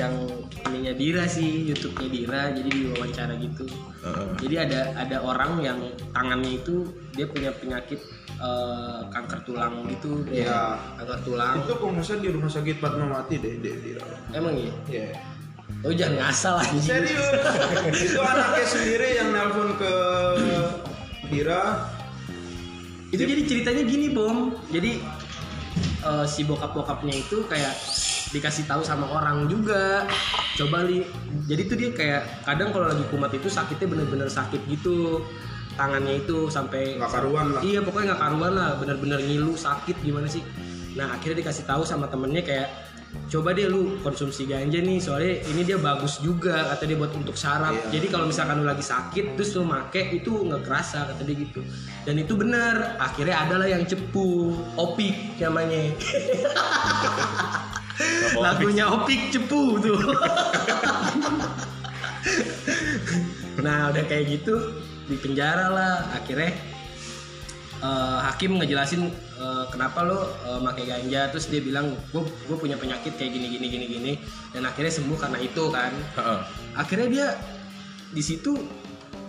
yang ininya Dira sih, YouTube-nya Dira, jadi diwawancara gitu.
Heeh.
Jadi ada ada orang yang tangannya itu dia punya penyakit eh, kanker tulang gitu, dia
Iya.
kanker tulang.
itu kok nggak salah di rumah sakit Fatmawati deh dia di dalam.
Emang iya.
Iya.
Lo jangan ngasal aja.
Serius. itu anaknya sendiri yang nelpon ke Dira.
Itu jadi ceritanya gini, Bom. Jadi eh, si bokap-bokapnya itu kayak dikasih tahu sama orang juga. Coba li. Jadi tuh dia kayak kadang kalau lagi kumat itu sakitnya bener-bener sakit gitu. Tangannya itu sampai
Nggak karuan lah.
Iya, pokoknya nggak karuan lah, bener-bener ngilu, sakit gimana sih. Nah, akhirnya dikasih tahu sama temennya kayak coba deh lu konsumsi ganja nih soalnya ini dia bagus juga kata dia buat untuk saraf
Iya.
jadi kalau misalkan lu lagi sakit terus lu make itu nggak kerasa kata dia gitu dan itu benar akhirnya adalah yang cepu opik namanya lagunya opik cepu tuh nah udah kayak gitu di penjara lah akhirnya eh, hakim ngejelasin eh, kenapa lo eh, pakai ganja terus dia bilang gue punya penyakit kayak gini gini gini gini dan akhirnya sembuh karena itu kan
Heeh.
akhirnya dia di situ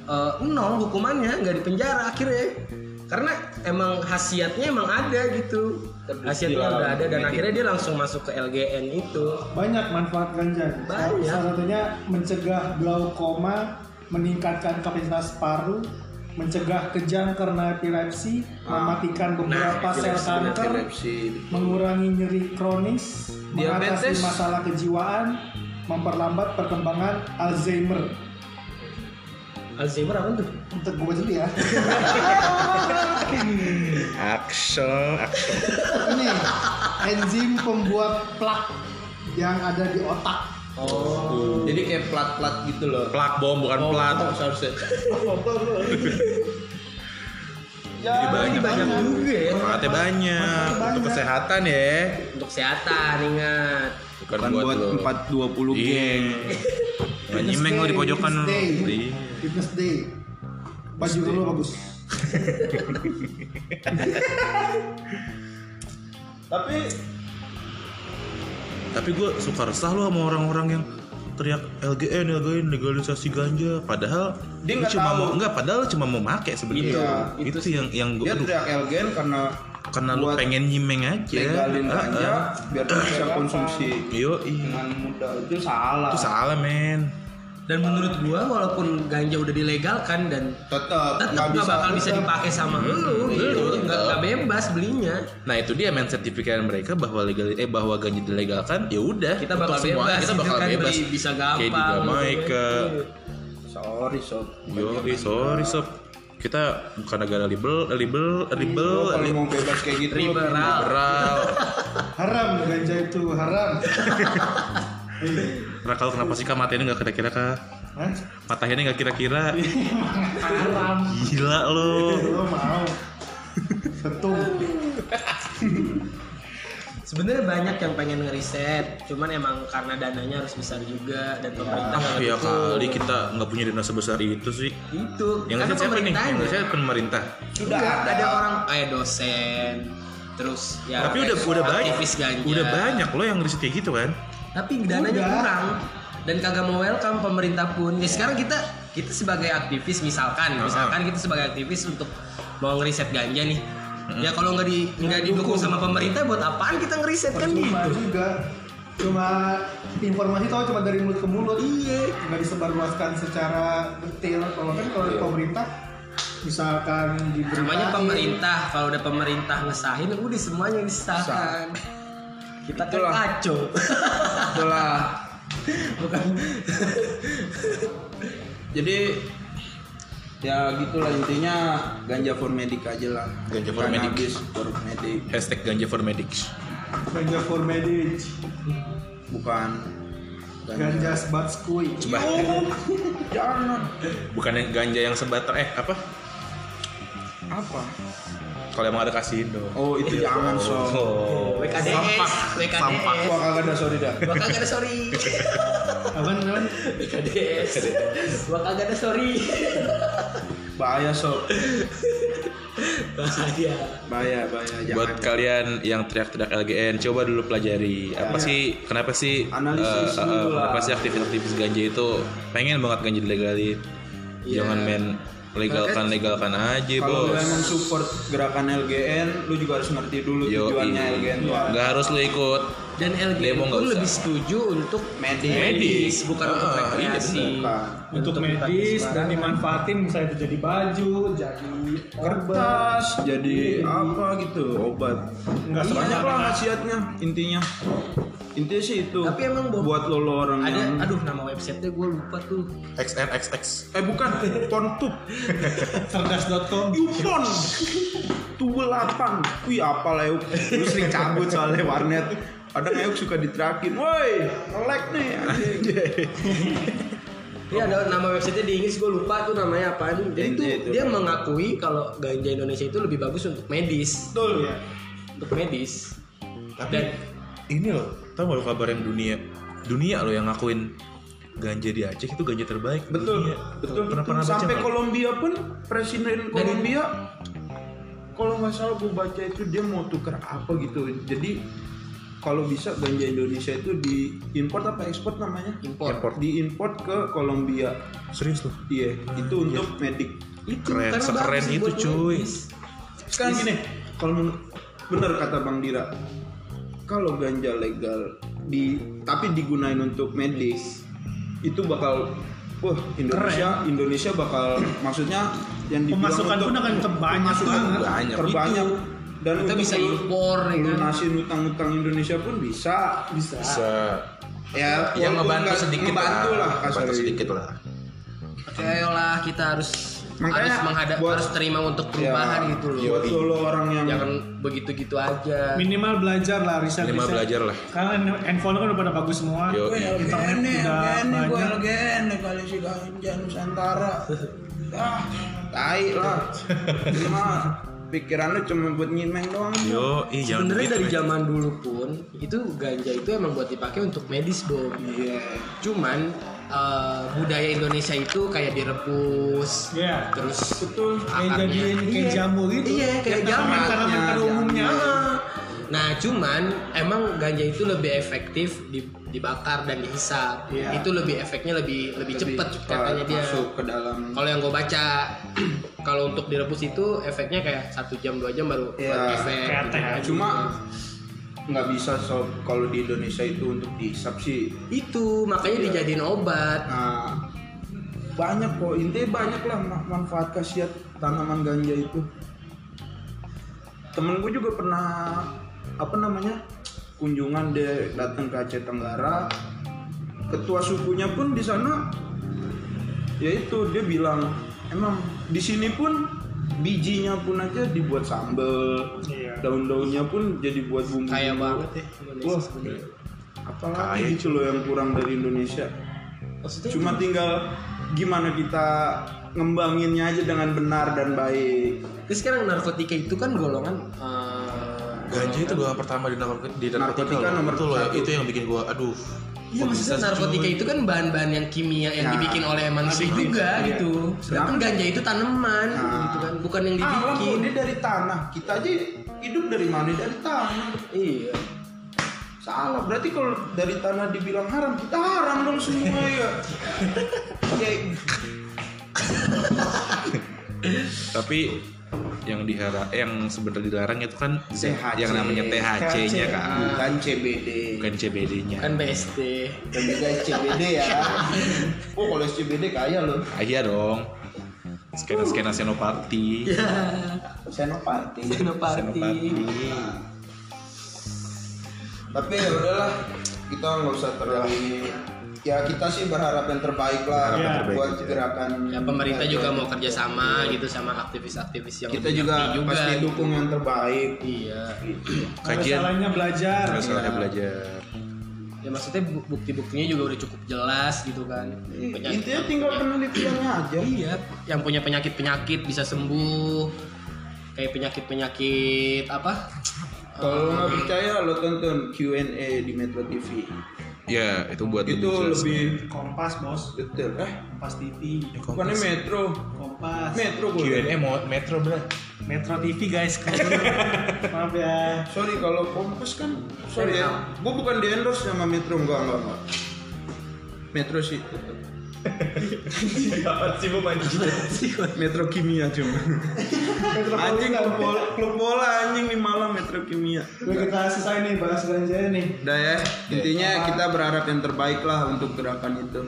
eh, nol hukumannya nggak di penjara akhirnya karena emang khasiatnya emang ada gitu
Terbukti
khasiatnya
lah,
udah ada dan
terbukti.
akhirnya dia langsung masuk ke LGN itu
Banyak manfaat ganja.
Banyak.
Salah satunya mencegah glaukoma, meningkatkan kapasitas paru, mencegah kejang karena epilepsi,
Ah.
mematikan beberapa sel
Epilepsi,
kanker,
epilepsi.
mengurangi nyeri kronis, mengatasi
Diabetes.
masalah kejiwaan,
memperlambat perkembangan Alzheimer.
Alzheimer apa tuh?
Untuk gue baca dulu ya.
Action, action.
Ini enzim pembuat plak yang ada di otak.
Oh. Jadi kayak plat-plat gitu loh.
Plak bom bukan
Oh,
plat.
harus- harusnya.
Jadi banyak.
Ya, Banyak juga ya
Manfaatnya banyak untuk kesehatan ya.
untuk kesehatan ingat.
Bukan Kan buat lo.
420
Iya. Nggak Nyimeng lo di pojokan lo.
Fitness day.
Iya.
Fitness day. Baju lu bagus.
Tapi
Tapi gue suka resah lo sama orang-orang yang teriak LGN, LGN, legalisasi ganja. Padahal lu
Dia nggak
cuma
tahu.
mau enggak, padahal lu cuma mau make sebenarnya.
Iya,
itu, yang yang gue
dia teriak Elgen karena
karena lu
buat
pengen nyimeng aja.
legalin
Ah,
ganja
ah.
biar dia bisa konsumsi
Yo, iya.
dengan mudah itu salah.
Itu salah men.
Dan menurut gua walaupun ganja udah dilegalkan dan
Tetap
tetap nggak bakal bisa dipakai
Iya,
sama lu, lu nggak nggak bebas belinya.
Nah itu dia mindset di pikiran mereka bahwa legal eh bahwa gaji dilegalkan ya udah
Kita
untuk
bakal
semua
bebas,
kita
gitu
bakal
kan,
bebas
beli bisa
kayak
gampang.
di Jamaica
Sorry sob.
yo eh, sorry sob kita bukan negara libel libel libel
Lu Iya, Kalau mau bebas kayak gitu lu
Liberal.
liberal
Haram ganja itu haram.
Rakal Nah, kenapa sih kak matanya nggak kira-kira kak
Hah?
matanya nggak kira-kira
Haram.
gila lo
Oh.
Lo mau? Setung.
Sebenarnya banyak yang pengen ngeriset, cuman emang karena dananya harus besar juga dan pemerintah nggak
ya
dukung.
kali kita nggak punya dana sebesar itu sih
itu
yang
karena
ngasih siapa nih yang ngasih
pemerintahnya.
pemerintah
Sudah
Enggak,
ada.
ada orang kayak dosen terus ya
tapi udah udah banyak
aktivis ganja.
udah banyak lo yang riset kayak gitu kan
tapi dananya
Udah.
kurang dan kagak mau welcome pemerintah pun ya sekarang kita kita sebagai aktivis misalkan misalkan kita sebagai aktivis untuk mau ngeriset ganja nih ya kalau nggak di nggak didukung sama pemerintah buat apaan kita ngeriset kan
Cuma
gitu
juga cuma informasi tahu cuma dari mulut ke mulut
iya
nggak disebarluaskan secara detail kalau kan kalau di pemerintah misalkan di
Iya. namanya pemerintah kalau udah pemerintah ngesahin udah semuanya disahkan kita kan
Itulah.
kacau
Itulah.
bukan
Jadi ya gitulah intinya ganja for medic aja lah.
Ganja for medic.
Cannabis for medic
hashtag ganja for medics
ganja for medic
bukan
ganja sebat skui
coba
Jangan
bukan yang ganja yang sebater eh apa
apa?
kalau emang ada kasino
Oh itu jangan sob.
Iya. oh.
WKDS WKDS
Wah kagak ada sorry dah.
Gua kagak ada sorry
apa namanya
WKDS Gua kagak ada sorry
Bahaya sob.
Bahaya
Bahaya bahaya jangan.
buat kalian yang teriak-teriak LGN coba dulu pelajari apa sih kenapa sih
Iya. Analisis
eh, eh,
dulu lah.
kenapa sih aktivis-aktivis ganja itu pengen banget ganja dilegalin
Iya.
jangan main legalkan legalkan aja
kalau kalian
bos
mensupport gerakan LGN, lu juga harus ngerti dulu
Yo,
tujuannya
iya.
LGN tuh apa.
nggak harus lo ikut
Dan LG
Demo nggak
pun
usah.
lebih setuju untuk
Medis.
medis Bukan untuk
Ah, iya,
rekreasi
Bukan.
untuk medis dan dimanfaatin misalnya itu jadi baju, jadi obat.
Kertas jadi apa gitu obat.
Nggak
Iya, banyak
sebanyak
lah khasiatnya intinya. Intinya sih itu.
Tapi emang Bob-
buat lo, lo orang
Ada,
yang
aduh nama websitenya gue lupa tuh
XNXX
eh bukan porntub
Cerdas.com.
Yupon 28 Wih apa Leuk Lu sering cabut soalnya warnet Kadang Leuk suka diterakin Woi nge-lag nih anjing."
Ini Iya, ada nama websitenya di Inggris gue lupa tuh namanya apaan Jadi
Intinya
tuh
itu.
dia mengakui kalau ganja Indonesia itu lebih bagus untuk medis
Betul
Untuk medis Dan
ini loh tau gak lo kabar yang dunia dunia lo yang ngakuin ganja di Aceh itu ganja terbaik di
Betul
dunia.
Iya, Betul
pernah pernah baca
Sampai
nggak?
Kolombia pun Presiden Kolombia kalau nggak salah gue baca itu dia mau tuker apa gitu Jadi kalau bisa ganja Indonesia itu diimpor apa ekspor namanya?
Impor.
Diimpor ke Kolombia.
serius lo
Iya, itu untuk medik.
itu
Keren,
karena
sekeren
bagus
itu,
buat
cuy.
medis.
Sekarang gini, kalau menur- bener kata Bang Dira, kalau ganja legal di tapi digunain untuk medis, itu bakal wah Indonesia Indonesia bakal maksudnya yang dibilang
Pemasukan
untuk-
pun akan terbanyak
pemasukan
banget.
banyak,
Terbanyak.
terbanyak. dan
Kita
untuk
bisa
lu-
impor, ya kan?
lunasin utang-utang Indonesia pun bisa bisa
bisa
ya
yang
walaupun
ngebantu
nggak-
sedikit
ngebantu lah ya.
ngebantu
kasarnya.
sedikit lah
Oke, ayolah kita harus
Makanya
harus menghadap
buat-
harus terima untuk
Iya.
perubahan
Ya,
gitu loh.
buat solo orang yang
Jangan begitu-gitu aja.
minimal belajar lah riset
Minimal
riset.
belajar lah.
karena handphone kan udah pada bagus semua
Yo, iya.
internet
Ini
udah
iya,
LGN nih, gue
banyak
LGN nih kali si ganja Nusantara. Ah,
tai lah cuma pikiran lu cuma buat nyimeng doang
yo ih
Iya,
jangan
Sebenarnya
begitu,
dari
men.
zaman dulu pun itu ganja itu emang buat dipakai untuk medis, Bob.
Iya.
Cuman eh, budaya Indonesia itu kayak direbus,
Iya.
terus
betul kayak
akarnya.
jadiin kayak
Iya.
jamu gitu
Iya, kayak Iya. jamu.
karena pada
jamu.
umumnya
Nah, cuman emang ganja itu lebih efektif di- dibakar dan dihisap.
Iya.
Itu lebih efeknya lebih lebih, cepet katanya dia.
masuk ke dalam
Kalau yang gue baca, kalau untuk direbus itu efeknya kayak satu jam dua jam baru
Iya.
baru efek. gitu kan.
Kayak teh aja.
cuma nggak bisa so kalau di Indonesia itu untuk dihisap sih
itu makanya
Iya.
dijadiin obat.
nah banyak kok intinya banyak lah ma- manfaat khasiat tanaman ganja itu temen gue juga pernah apa namanya kunjungan dia datang ke Aceh Tenggara ketua sukunya pun di sana yaitu dia bilang emang di sini pun bijinya pun aja dibuat sambel
Iya.
daun-daunnya pun jadi buat bumbu
Kaya banget ya Indonesia
Wah.
sebenarnya.
apalagi
Kaya.
gitu loh yang kurang dari Indonesia
Maksudnya
cuma tinggal gimana kita ngembanginnya aja dengan benar dan baik
terus sekarang narkotika itu kan golongan eh,
ganja itu gua pertama di narkotika di narkotika,
Narkotika
loh.
nomor
Betul loh,
satu.
itu yang bikin gua aduh
Iya
kok
maksudnya
bisa sih,
narkotika
cuy?
itu kan bahan-bahan yang kimia yang
Ya.
dibikin oleh manusia juga gitu. Sedangkan ganja itu tanaman
Nah.
gitu kan, bukan yang
alam kok
dibikin.
dia dari tanah kita aja hidup dari mana dari tanah
Iya.
salah berarti kalau dari tanah dibilang haram kita haram dong semua ya ya
tapi yang diharap yang sebenarnya dilarang itu kan
THC.
yang namanya THC-nya kan
bukan CBD
bukan CBD-nya
Kan BSD.
dan juga CBD ya oh kalau CBD kaya loh
Ah, iya dong skena
Uh.
skena senopati
Iya,
Ya.
senopati
Senopati.
senopati
iya. tapi ya udahlah kita nggak usah terlalu Iya. ini. ya kita sih berharap yang terbaik lah
Berharap
yang
terbaik
buat
aja.
gerakan
Ya pemerintah juga mau kerjasama gitu sama aktivis-aktivis yang
kita
lebih
juga
aktif
pasti dukung yang terbaik
Iya.
kajian
masalahnya belajar
Iya.
masalahnya belajar
Ya maksudnya bu- bukti-buktinya juga udah cukup jelas gitu kan. Penyakit-
intinya tinggal penelitiannya aja
Iya, yang punya penyakit-penyakit bisa sembuh. Kayak penyakit-penyakit apa?
kalau nggak percaya lo tonton Q&A di Metro TV
ya itu buat
itu
jelas.
lebih
kompas bos
detail eh
kompas tv
bukannya Metro ya?
kompas
Metro gue
Q&A mau metro bro
metro tv guys maaf ya
sorry kalau Kompas kan sorry ya gue bukan di endorse sama Metro enggak enggak enggak Metro sih tetep.
sih bu
Metro Kimia cuma. anjing klub bola, klub bola anjing di malam Metro Kimia.
udah kita selesai nih bahas ganja nih.
Udah ya, intinya kita berharap yang terbaik lah untuk gerakan itu.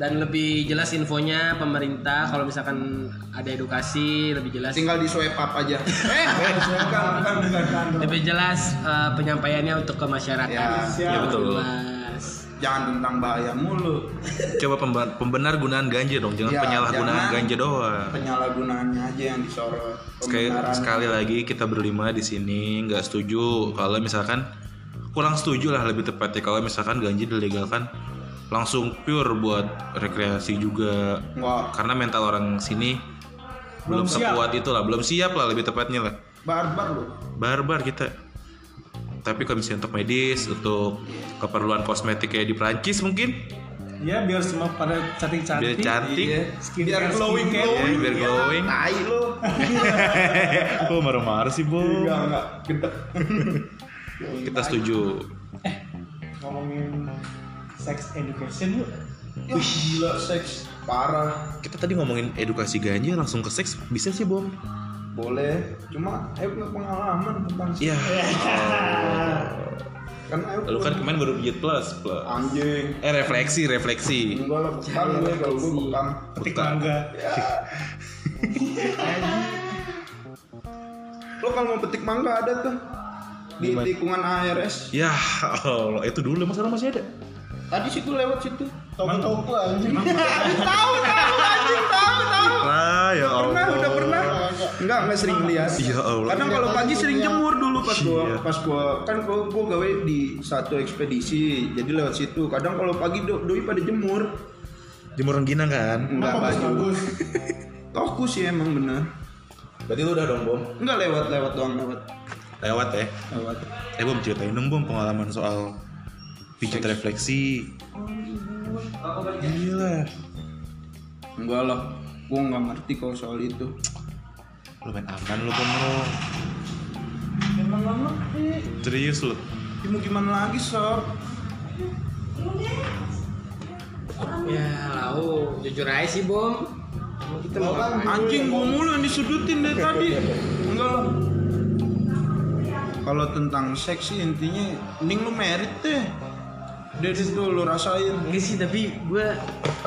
Dan lebih jelas infonya pemerintah kalau misalkan ada edukasi lebih jelas.
Nah, Tinggal di swipe up aja. eh, bukan, bukan, bukan.
Lebih jelas eh, penyampaiannya untuk ke masyarakat.
Ya,
ya betul
Jelas.
Jangan tentang bahaya mulu.
coba pemba- pembenar gunaan ganja dong jangan
Ya,
penyalahgunaan
jangan.
ganja doang
Penyalahgunaannya aja yang disorot.
Sekali,
Pembenaran.
sekali lagi kita berlima di sini nggak setuju kalau misalkan kurang setuju lah lebih tepatnya kalau misalkan ganja dilegalkan langsung pure buat rekreasi juga
Nggak.
karena mental orang sini belum,
Belum siap.
sekuat itulah belum siap lah lebih tepatnya lah
barbar lu.
barbar kita tapi kalau misalnya untuk medis untuk keperluan kosmetik kayak di Prancis mungkin
ya biar semua pada cantik
biar
cantik
cantik
Iya. Oh
Skincare,
Biar glowing
skincare.
ya,
glowing.
biar glowing
Tai lu.
oh marah-marah sih bu
Enggak, enggak. Gede.
kita setuju
ngomongin sex education yuk
Ya, gila seks parah.
kita tadi ngomongin edukasi ganja langsung ke seks bisa sih bom
Boleh, cuma ayo punya pengalaman tentang seks.
ya
Kan ayo
lu kan kemarin baru pijit plus plus
anjing
eh refleksi refleksi
enggak lah bekam gue kalau gue bekam
petik
Bukan.
mangga
ya. lo Lo kalau mau petik mangga ada tuh di
Gimana?
tikungan ARS.
Ya Allah, itu dulu masa masih ada.
Tadi situ lewat situ.
Toko-toko anjing.
Tahu tahu anjing tahu tahu.
Nah, ya Allah.
Pernah udah pernah. Iya Enggak enggak sering lihat.
Ya Allah.
Kadang kalau pagi sering jemur dulu pas gua
Iya.
pas gua kan gua, gua gawe di satu ekspedisi. Jadi lewat situ. Kadang kalau pagi do, doi pada jemur.
Jemur rengginang kan?
Enggak baju. Toku sih emang bener.
Berarti lu udah dong, Bom.
Enggak lewat lewat doang lewat
Lewat ya.
lewat.
Eh, Bom ceritain dong, Bom pengalaman soal pijat refleksi. Gila.
Enggak lah. Gua nggak ngerti kalau soal itu.
Lu main aman lu, Bom. Lu.
Emang nggak ngerti.
Serius lu.
Ya mau gimana lagi sob?
ya lau jujur aja sih bom kita mau
Lawan.
ngapain?
Anjing gua mulu yang disudutin dari tadi. Enggak lah. Kalau tentang seks sih intinya mending lu merit deh. Dari situ lu rasain.
enggak sih tapi gue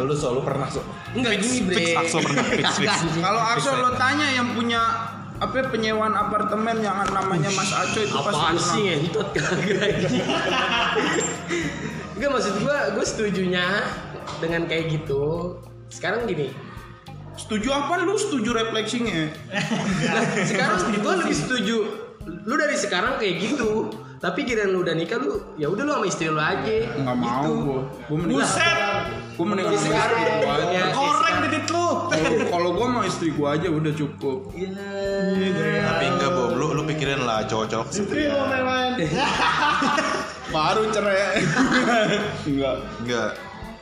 Lu soal lu pernah so.
enggak gini bre
fix Axel pernah, fix, fix.
Kagak, anjing.
Kalau Axel lo tanya yang punya apa penyewaan apartemen yang namanya Mas Aco itu pasti
apaan sih
pernah.
ngentot kagak anjing. enggak maksud gue gue setujunya dengan kayak gitu sekarang gini
Setuju apa lu setuju refleksinya? Ya,
Nah, sekarang gue lebih setuju lu dari sekarang kayak gitu tapi kira lu udah nikah lu ya udah lu sama istri lu aja gitu.
Enggak mau gua. Gua mending
Buset,
gua mending sama istri
sekarang
gua aja.
ya,
Iya. korek titik lu.
Kalau- Kalau gua mau istri gua aja udah cukup.
Iya,
Tapi enggak, Bom. Lu lu pikirin lah cowok-cowok
Eh,
gitu ya.
Istri
seperti
mau main-main.
iya,
Baru cerai. Enggak.
Enggak.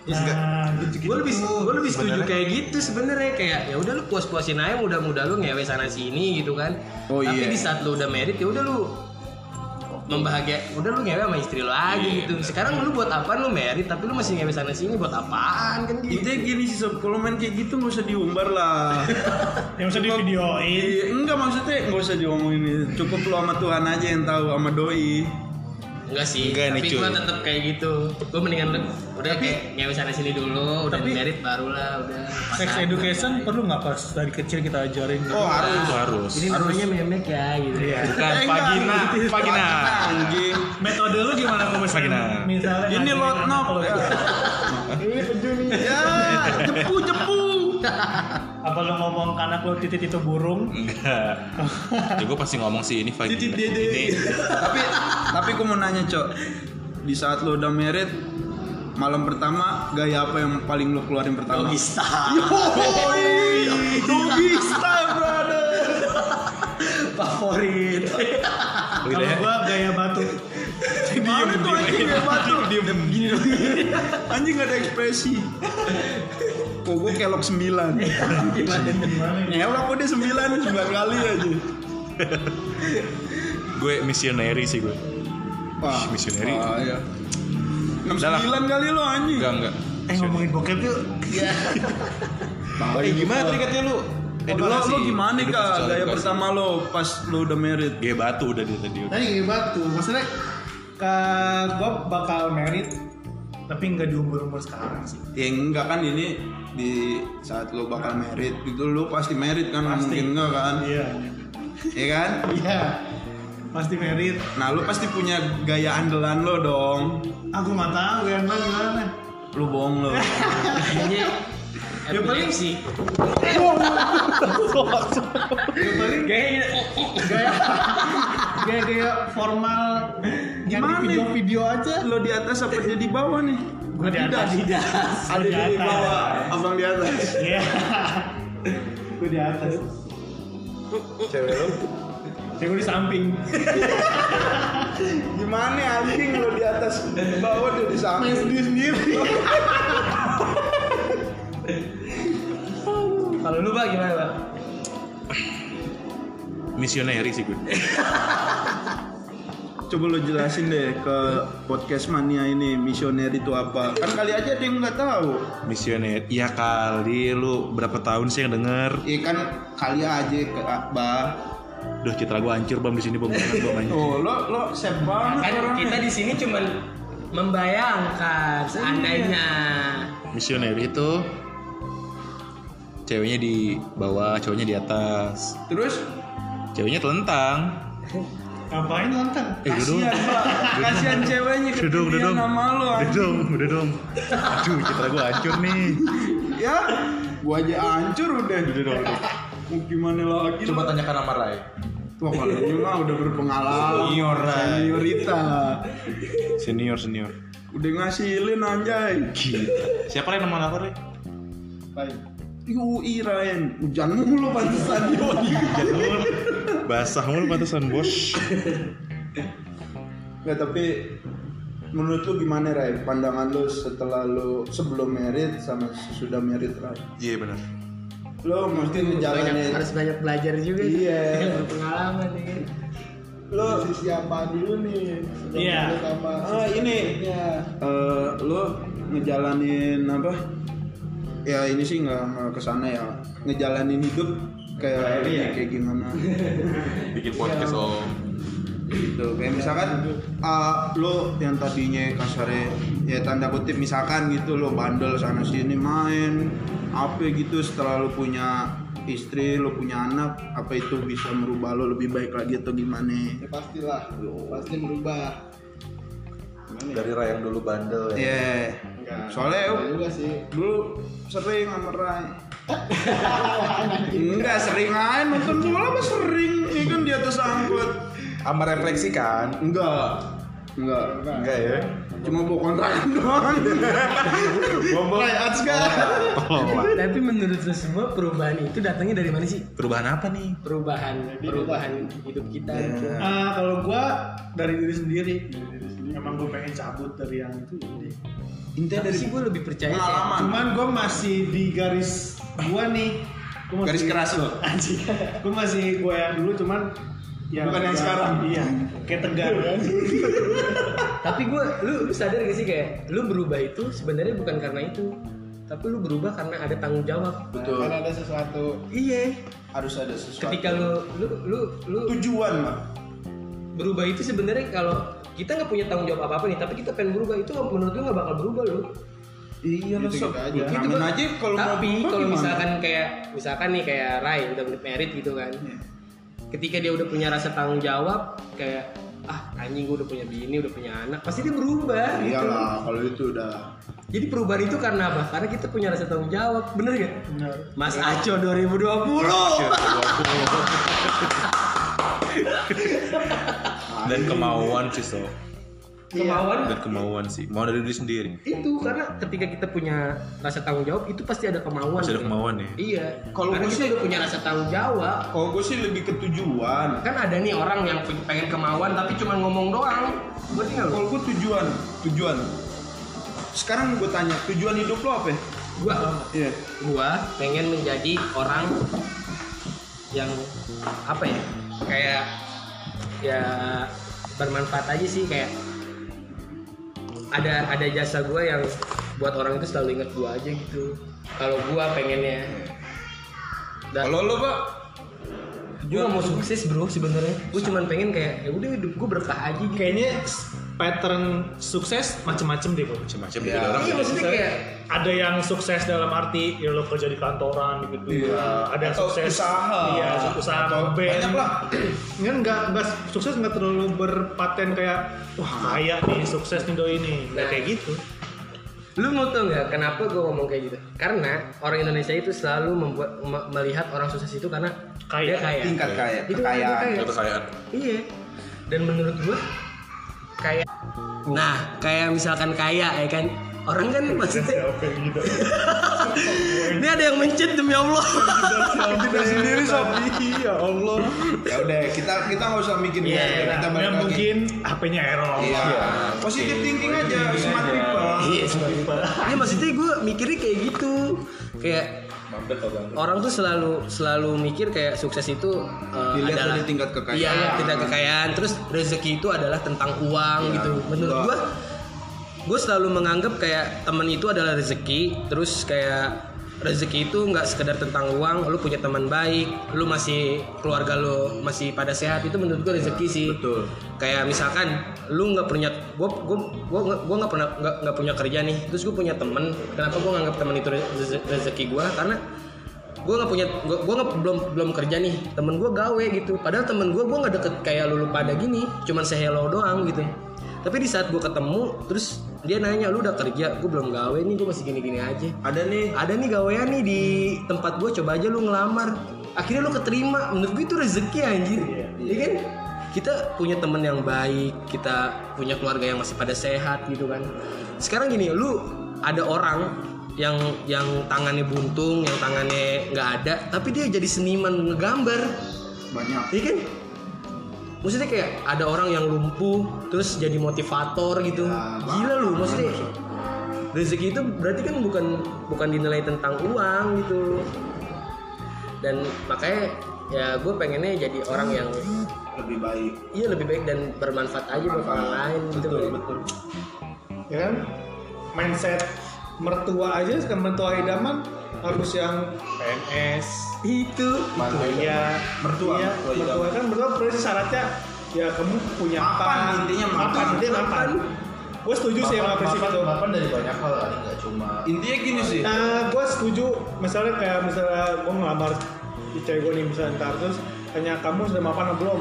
Nah, gitu
gue lebih gue lebih setuju
Sebenarnya-
kayak gitu sebenarnya kayak ya udah lu puas-puasin aja mudah-mudah lu ngewe sana sini gitu kan
Oh,
tapi
iya.
di saat lu udah merit ya udah lu membahagia udah lu ngewe sama istri lu aja gitu sekarang lu buat apaan lu merit tapi lu masih ngewe sana sini buat apaan kan gitu
Intinya gini sih sob, kalau main kayak gitu nggak usah diumbar lah.
Yang bisa di videoin.
Iya, enggak maksudnya nggak usah diomongin. Cukup lo sama Tuhan aja yang tahu sama doi.
Enggak sih,
Enggak nih,
tapi
cuy.
gue tetap kayak gitu. Gue mendingan lu- udah kayak nyewa sana sini dulu, udah
tapi-
merit barulah, udah.
Sex education perlu nggak pas dari kecil kita ajarin?
Oh harus.
harus. Kan,
Ini namanya memek ya gitu. Iya.
Bukan vagina, vagina.
Anjing.
Metode lu gimana kalau
Vagina.
misalnya? Misalnya
Ini
ngajarin
lot
anak
knock.
kalau-
Ya.
Ini peju nih.
Ya, jepu jepu.
Apa lu ngomong ke anak lu titik itu burung?
Enggak. Ya gue pasti ngomong sih ini vagina.
Titit dede. tapi tapi gue mau nanya cok. Di saat lo udah merit, malam pertama gaya apa yang paling lo keluarin pertama?
Bisa.
Yoi, ah, doggy style brother.
Favorit.
Kalau gua gaya batu.
Mana tuh anjing gak batu? Diem gini dong. Anjing gak ada ekspresi. Kok gue kelok 9. Nyewak udah 9 9 kali aja.
Gue misioneri sih gue.
Wah,
Misioneri.
Wah, iya.
Udah lah.
69 kali lo anjing.
Enggak, enggak.
Eh ngomongin bokep yuk.
Eh gimana tadi katanya lu?
Lo, Eh, lo gimana nih kak gaya
pertama
pertama lo pas lo udah merit?
Gaya Iya, batu udah dia tadi.
Nah,
Tadi gini batu. Maksudnya
Ke gua bakal merit tapi nggak di umur-umur sekarang sih.
Ya enggak kan ini di saat lo bakal merit itu lo pasti merit kan
Pasti.
mungkin enggak kan
Iya.
ya kan
Iya. Pasti merit.
nah lo pasti punya gaya andalan lo dong
Aku nggak tahu yang lain gimana.
lo bohong lo
Kayaknya
Ya, paling-
sih.
Ya paling
Kayaknya
gaya gaya gaya formal yang di
Gimana?
video-video aja.
lo di atas apa dia di bawah nih
Gua di atas.
ada
Di
dia di
atas.
bawah abang di atas
Iya. Gua di atas.
cewek lo
Ya gua di samping.
gimana ya, anjing lo di atas di bawah dia di samping
sendiri sendiri.
kalau lu Pak gimana, Pak?
Misioneri sih gue.
coba lo jelasin deh ke podcast mania ini misioner itu apa kan kali aja dia nggak tahu
Misioneri. Ya kali lu berapa tahun sih yang denger?
Iya kan kali aja ke Akbar.
Duh citra gue hancur bam di sini bam banget bam anjing.
Oh, lo lo sep
Kan
banget
kita di sini cuman membayangkan seandainya.
Misioneri itu ceweknya di bawah, cowoknya di atas.
Terus
Ceweknya telentang.
Ngapain lantang?
Eh, dudung.
Kasihan, Pak. Kasihan ceweknya
Dudung,
ketindihan
dudung.
Iya, nama lu. anjing.
Dudung, dudung. Aduh, citra gua hancur nih.
Ya, gua aja hancur udah.
Dudung, dudung.
Mau gimana lagi?
Coba tanyakan sama Rai.
Wah, kalau dia mah udah berpengalaman.
Senior, Ray.
Seniorita.
Senior, senior.
Udah ngasilin anjay.
Gila. Siapa yang nama lapor, Re?
UI Ryan, hujan mulu pantesan
Basah mulu pantesan, Bos.
Nggak Ya, tapi menurut lu gimana Ray? Pandangan lu setelah lu sebelum merit sama sesudah merit Ray?
Iya, benar.
Lu mesti
Banyak,
ngejalanin
harus banyak belajar juga.
Iya.
Berpengalaman nih.
Lu
Sisi apa dulu nih? Sebelum
Iya.
lanjut Sama
ah ini
ya.
eh lu ngejalanin apa? Ya ini sih nggak nggak kesana ya. Ngejalanin hidup kayak
Iya.
kayak gimana?
Bikin podcast om.
gitu kayak misalkan uh, lo yang tadinya kasarnya ya tanda kutip misalkan gitu lo bandel sana sini main apa gitu setelah lo punya istri lo punya anak apa itu bisa merubah lo lebih baik lagi atau gimana
ya pastilah. Pasti berubah.
Dari Rai yang dulu bandel ya.
Iya.
ya soalnya
Enggak
yuk,
juga sih.
dulu sering sama Rai enggak sering main nonton bola apa sering ini kan di atas angkot
Sama refleksi kan?
enggak enggak
Enggak ya.
cuma bawa kontrakan doang
Bombol.
Ats gak?
Tolong.
Iya, Tapi menurut lu semua perubahan itu datangnya dari mana sih?
Perubahan apa nih?
Perubahan perubahan hidup kita.
Iya.
gitu.
Ah, kalau gua dari diri sendiri, emang gue pengen cabut dari yang itu. ya. jadi.
Intinya
Tapi
dari
sih gue lebih percaya kayak
pengalaman.
Cuman gue masih di garis gua nih. Gua masih-
Garis keras lo.
Anjing. Gue masih gue yang dulu cuman
Bukan yang sekarang. Iya.
Iya. Kayak tegar.
Tapi gue, lu, lu sadar gak sih kayak lu berubah itu sebenarnya bukan karena itu, tapi lu berubah karena ada tanggung jawab.
Betul.
Kan ada sesuatu.
Iya.
Harus ada sesuatu.
Ketika lu lu lu lu
tujuan, Pak.
berubah itu sebenarnya kalau kita nggak punya tanggung jawab apa apa nih, tapi kita pengen berubah itu menurut lu nggak bakal berubah lu.
Iya lo sob.
aja.
Gitu Amin aja kalau mau
tapi
berubah
kalau
gimana?
misalkan kayak misalkan nih kayak Rai udah merit gitu kan,
Iya.
ketika dia udah punya rasa tanggung jawab kayak ah anjing gue udah punya bini udah punya anak pasti dia berubah gitu.
iyalah Iya kalau itu udah
Jadi perubahan itu karena apa? Karena kita punya rasa tanggung jawab, bener gak? Mas
Iya.
Aco 2020.
Dan kemauan sih, so.
Kemauan
Iya.
Dan kemauan sih. Mau dari diri sendiri.
itu karena ketika kita punya rasa tanggung jawab itu pasti ada kemauan.
Pasti ada
gitu.
kemauan ya.
Iya.
Kalau
karena
gue
kita
sih-
udah punya rasa tanggung jawab,
kalau gue sih lebih ke tujuan.
kan ada nih orang yang pen- pengen kemauan tapi cuma ngomong doang. Berarti nggak lu?
Kalau gue tujuan, tujuan. Sekarang gue tanya, tujuan hidup lo apa? ya?
Gua,
Iya.
gua pengen menjadi orang yang apa ya? Kayak ya bermanfaat aja sih kayak ada ada jasa gue yang buat orang itu selalu ingat gue aja gitu kalau gue pengennya dan
Kalau lo, Pak,
gue mau sukses bro sebenarnya gue cuman pengen kayak ya udah hidup gue berkah aja gitu
Kayaknya s- pattern sukses macem-macem deh kalau
Macam-macam dari orang.
iya maksudnya kayak
ada yang sukses dalam arti ya lo kerja di kantoran gitu ada yang
Iya. Atau
sukses
usaha.
iya usaha
Atau
band.
banyak lah.
kan nggak nggak sukses nggak terlalu berpaten kayak wah kaya nih sukses nih doi ini nggak
Nah.
kayak gitu
lu mau tau nggak kenapa gue ngomong kayak gitu karena orang Indonesia itu selalu membuat me- melihat orang sukses itu karena
Kaya.
dia kaya
tingkat kaya,
Itu
kekayaan.
kaya.
Kekayaan.
iya dan menurut gue kayak nah kayak misalkan kaya ya kan orang kan maksudnya ini ada yang mencet demi allah
Kita sendiri, Sob. Iya, Allah. Ya udah, kita kita nggak usah mikir
Iya,
gitu.
iya,
kita
ya
balik lagi.
mungkin HP-nya error
Iya. Positive thinking aja, smart people.
iya ini maksudnya gue mikirnya kayak gitu kayak
Mampir kau ganggu.
orang tuh selalu selalu mikir kayak sukses itu uh,
Dilihat
adalah
dari tingkat kekayaan.
Iya, tingkat kekayaan. Terus rezeki itu adalah tentang uang
Iya,
gitu. Menurut
betul.
gua gue selalu menganggap kayak temen itu adalah rezeki. Terus kayak rezeki itu nggak sekedar tentang uang. Lu punya teman baik, lu masih keluarga lu masih pada sehat itu menurut gue rezeki sih.
betul.
Kayak misalkan lu nggak punya gue gue gue gue nggak pernah nggak nggak punya kerja nih. Terus gue punya temen. Kenapa gue nganggap temen itu reze- rezeki gua Karena gue nggak punya gue gue nggak belum belum kerja nih temen gue gawe gitu padahal temen gue gue nggak deket kayak lulu pada gini cuman say hello doang gitu tapi di saat gue ketemu terus dia nanya lu udah kerja gue belum gawe nih gue masih gini gini aja
Ada nih
ada nih gawean nih di tempat gue coba aja lu ngelamar akhirnya lu keterima menurut gue itu rezeki anjir ya kan kita punya temen yang baik kita punya keluarga yang masih pada sehat gitu kan sekarang gini lu ada orang yang yang tangannya buntung yang tangannya nggak ada tapi dia jadi seniman ngegambar
banyak.
Iya kan? Maksudnya kayak ada orang yang lumpuh terus jadi motivator gitu.
Iya,
Gila lu, maksudnya rezeki itu berarti kan bukan bukan dinilai tentang uang gitu. Dan makanya ya gue pengennya jadi orang yang
Lebih baik.
iya lebih baik dan bermanfaat aja buat orang lain gitu.
Betul, betul.
ya kan mindset mertua aja kan mertua idaman harus yang PNS
Itu
Mantu
kuliah
Mertua,
iya,
mertua idaman.
mertua kan mertua berarti syaratnya ya kamu punya apa
Mapan, intinya mapan.
intinya mapan gue setuju sih sama prinsip itu
Mapan dari banyak hal lah, ini nggak cuma
Intinya gini sih.
Nah, gue setuju. Misalnya kayak misalnya gue ngelamar di cewek gue nih misalnya ntar terus tanya kamu sudah mapan atau belum?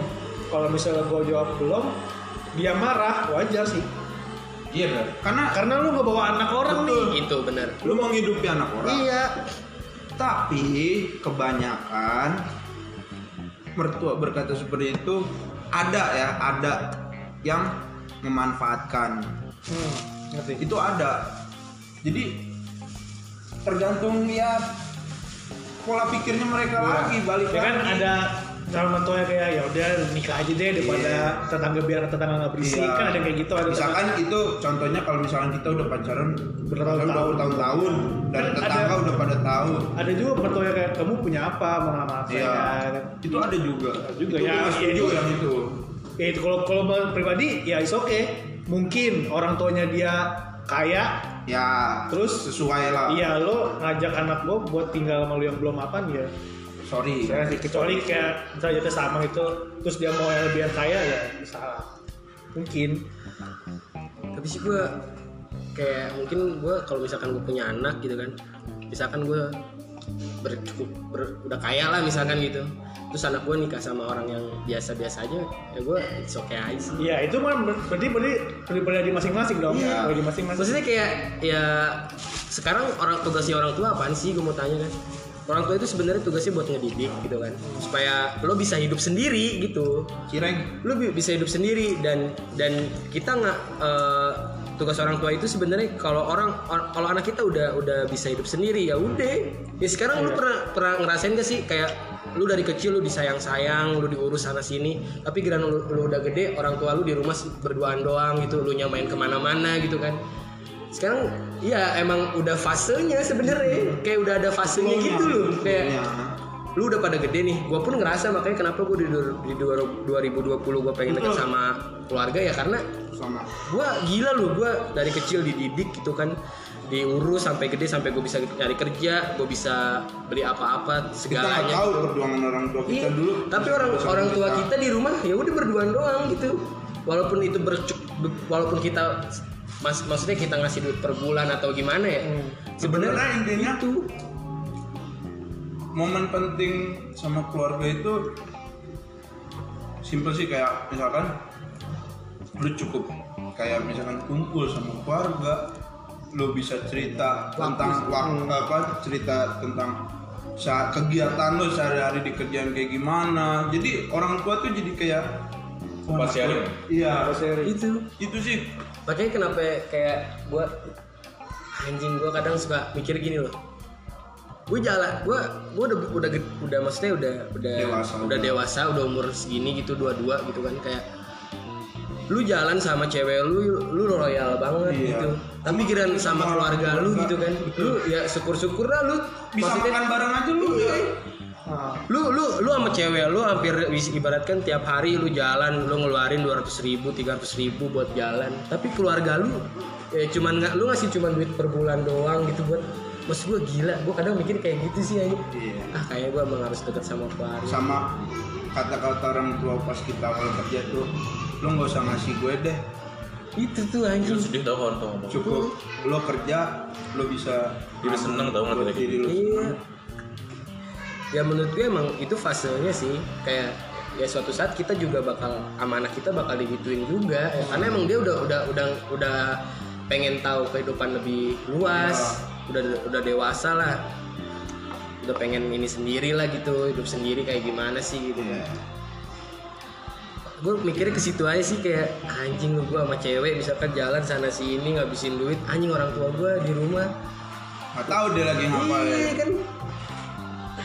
Kalau misalnya gue jawab belum, dia marah wajar sih.
Iya benar.
Karena
Karena lu ngebawa anak orang nih.
itu bener.
lu mau ngidupi anak orang.
Iya.
Tapi kebanyakan mertua berkata seperti itu ada ya, ada yang memanfaatkan.
Hmm, ngerti.
Itu ada. Jadi tergantung ya pola pikirnya mereka lagi balik
Ya kan
lagi.
ada calon mertuanya kayak ya udah nikah aja deh daripada
Iya.
tetangga biar tetangga nggak berisik
Iya.
kan ada yang kayak gitu ada
misalkan itu contohnya kalau misalkan kita udah pacaran
Bertahun-tahun.
udah bertahun-tahun dan
Kan
tetangga
ada-
udah pada tahu
ada juga mertuanya kayak kamu punya apa mau ngelamar
Iya.
saya kan.
itu ada juga
juga,
itu
ya.
gua setuju
Iya.
yang itu
Ya itu kalau kalau menurut pribadi ya is oke. Mungkin orang tuanya dia kaya,
ya
Terus?
sesuai lah
iya lo ngajak anak gue buat tinggal sama lo yang belum mapan ya.
sorry
Saya sih, kecuali kayak misalnya jatuh sama itu, terus dia mau yang lebih kaya ya salah. Mungkin.
tapi sih gue kayak mungkin gue kalau misalkan gue punya anak gitu kan misalkan gue bercukup ber- udah kaya lah misalkan gitu terus anak gue nikah sama orang yang biasa-biasa aja ya gue it's okay aja sih
Iya itu mah ber- berarti berarti daripada di masing-masing dong.
Iya.
Dari masing-masing.
maksudnya kayak ya sekarang orang tugasnya orang tua apaan sih gue mau tanya kan orang tua itu sebenarnya tugasnya buat ngedidik gitu kan supaya lo bisa hidup sendiri gitu
cireng
lu bi- bisa hidup sendiri dan dan kita nggak eh, tugas orang tua itu sebenarnya kalau orang or- kalau anak kita udah udah bisa hidup sendiri ya udah ya sekarang lu pernah pernah ngerasain gak sih kayak lu dari kecil lu disayang sayang lu diurus sana sini tapi kira lu, lu udah gede orang tua lu di rumah berduaan doang gitu lu nyamain kemana mana gitu kan sekarang ya emang udah fasenya sebenarnya kayak udah ada fasenya
Iya.
gitu loh kayak lu udah pada gede nih gue pun ngerasa makanya kenapa gue di, du- di du- 2020 gue pengen deket sama keluarga ya karena
sama
gue gila lu gue dari kecil dididik gitu kan diurus sampai gede sampai gue bisa nyari kerja gue bisa beli apa-apa
kita nggak
segalanya
tahu perjuangan orang tua
Iya,
kita dulu
tapi orang
Sama
orang tua kita di rumah ya udah berduaan doang gitu walaupun itu bercuk be- walaupun kita mas maksudnya kita ngasih duit per bulan atau gimana ya
Hmm. sebenarnya
sebenarnya
intinya tuh momen penting sama keluarga itu simple sih kayak misalkan lu cukup kayak misalkan kumpul sama keluarga lu bisa cerita tentang waktu Hmm. apa cerita tentang sa- kegiatan lu sehari-hari di kerjaan kayak gimana jadi orang tua tuh jadi kayak wah,
Buat sharing.
iya
itu
itu sih
makanya kenapa kayak gue anjing gue kadang suka mikir gini loh gue jalan gue gue udah udah ge- udah maksudnya udah udah
Dewasa.
udah dewasa udah umur segini gitu dua dua gitu kan kayak lu jalan sama cewek lu lu royal banget
Iya.
gitu tapi kira sama
Sama
keluarga lu
keluarga,
gitu kan lu ya syukur syukur lah lu
bisa
maksudnya-
makan bareng aja lu ya.
lu lu lu sama cewek lu hampir wis- ibaratkan tiap hari lu jalan lu ngeluarin 200 ribu 300 ribu buat jalan tapi keluarga lu ya cuman nggak lu ngasih cuman duit per bulan doang gitu buat mas gue gila gue kadang mikir kayak gitu sih aja
Iya.
ah kayak gue emang harus deket sama keluarga
sama kata-kata orang tua pas kita awal kerja tuh lo nggak usah ngasih gue deh
itu tuh
Itu
anjing
sedih tau kalau tau ngomong.
cukup lo kerja lo bisa
Jadi seneng tau ngeliat
buat
kayak gitu.
diri lo
iya ya menurut gue emang itu fasenya sih kayak ya suatu saat kita juga bakal sama anak kita bakal digituin juga ya. karena emang dia udah udah udah udah pengen tahu kehidupan lebih luas udah udah dewasa lah udah pengen ini sendiri lah gitu hidup sendiri kayak gimana sih gitu
Iya.
gue mikirnya ke situ aja sih kayak anjing lu gue sama cewek misalkan jalan sana sini ngabisin duit anjing orang tua gue di rumah
nggak tahu dia lagi ngapain
iya kan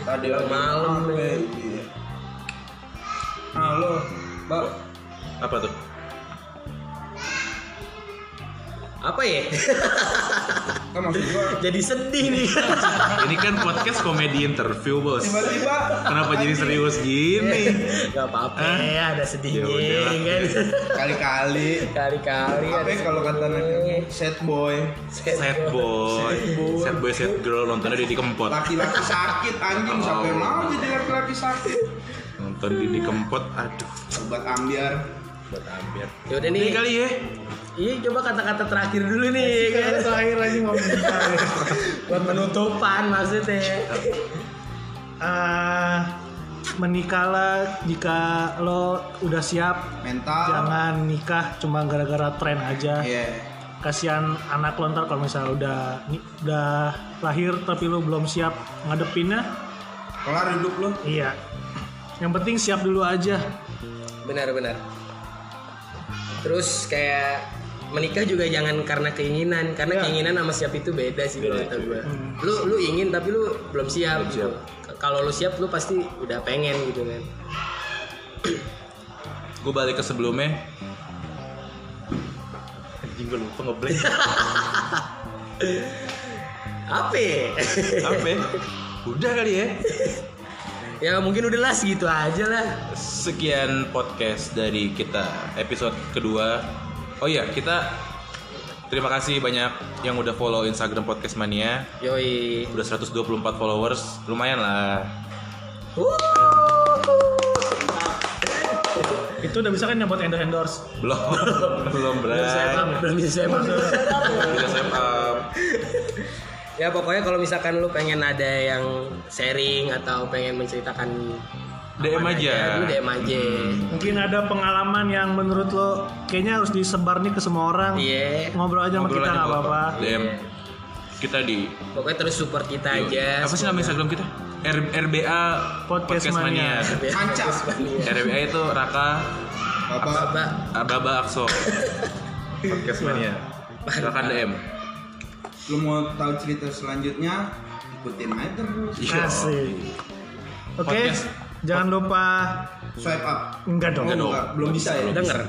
tadi
udah
lagi
malam,
ngapain.
ya.
Iya. halo mbak
Apa tuh?
apa ya
kan maksud gua
jadi sedih nih
Ini kan podcast komedi interview bos.
tiba-tiba
Kenapa jadi serius gini?
nggak apa-apa
Hah?
ya ada sedihnya
Ya udah.
kan
kali-kali
kali-kali kan?
apa ya kalau kata anaknya set boy
Sad boy, sad boy, sad girl nontonnya Didi Kempot.
laki-laki sakit anjing sampai
Oh.
mau jadi laki-laki sakit
Nonton Didi Kempot, aduh.
obat ambiar
Buat ambil.
ya udah nih
Ini kali ya.
iya coba kata-kata terakhir dulu nih
Iya,
ya kan
terakhir aja ngomong
buat penutupan kan? maksudnya
Ah, menikahlah jika lo udah siap
mental
jangan nikah cuma gara-gara tren aja
Iya.
kasihan anak lo ntar kalau misalnya udah ni- udah lahir tapi lo belum siap ngadepinnya
kelar hidup lu
iya yang penting siap dulu aja
benar-benar terus kayak menikah juga jangan karena keinginan karena keinginan sama siap itu Ya. beda sih kalau kata gue lu lu ingin tapi lu belum siap, gitu. K- kalau lu siap lu pasti udah pengen gitu kan
Gue balik ke sebelumnya. Anjing gue lupa ngeblank.
apa ya?
Apa ya? Udah kali ya.
ya mungkin udah lah segitu aja lah
Sekian podcast dari kita episode kedua. Oh iya, kita terima kasih banyak yang udah follow Instagram Podcast Mania.
yoi
Udah 124 followers, lumayan lah.
itu udah bisa kan yang buat endorse endorse
Belum, belum berat.
belum bisa emang.
Udah set up.
ya pokoknya kalau misalkan lu pengen ada yang sharing atau pengen menceritakan
DM
apaan
aja. Hmm.
lu DM aja
mungkin ada pengalaman yang menurut lo kayaknya harus disebar nih ke semua orang
iya
ngobrol aja sama
Ngobrol
kita
aja
nggak
nggak
apa-apa
apa-apa. DM kita di
pokoknya terus support kita aja
apa sih nama Instagram kita? R- RBA
Podcast Mania.
kancam
RBA itu Raka
bapak
Bapak
Ababa Akso. Podcast Mania. Raka DM.
lu mau tahu cerita selanjutnya ikutin aja terus
Iya.
Asik. oke
Podcast.
jangan lupa
swipe up Oh,
enggak dong
Enggak dong.
Enggak, belum bisa ya
denger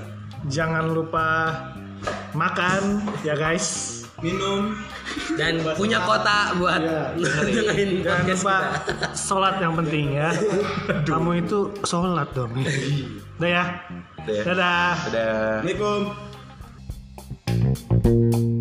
jangan lupa makan ya guys
minum
dan punya kota buat
Iya. Jangan
dengerin podcast
lupa
kita
sholat yang penting ya. Kamu itu sholat dong. Udah ya.
Iya. Udah ya.
Dadah.
Dadah.
assalamualaikum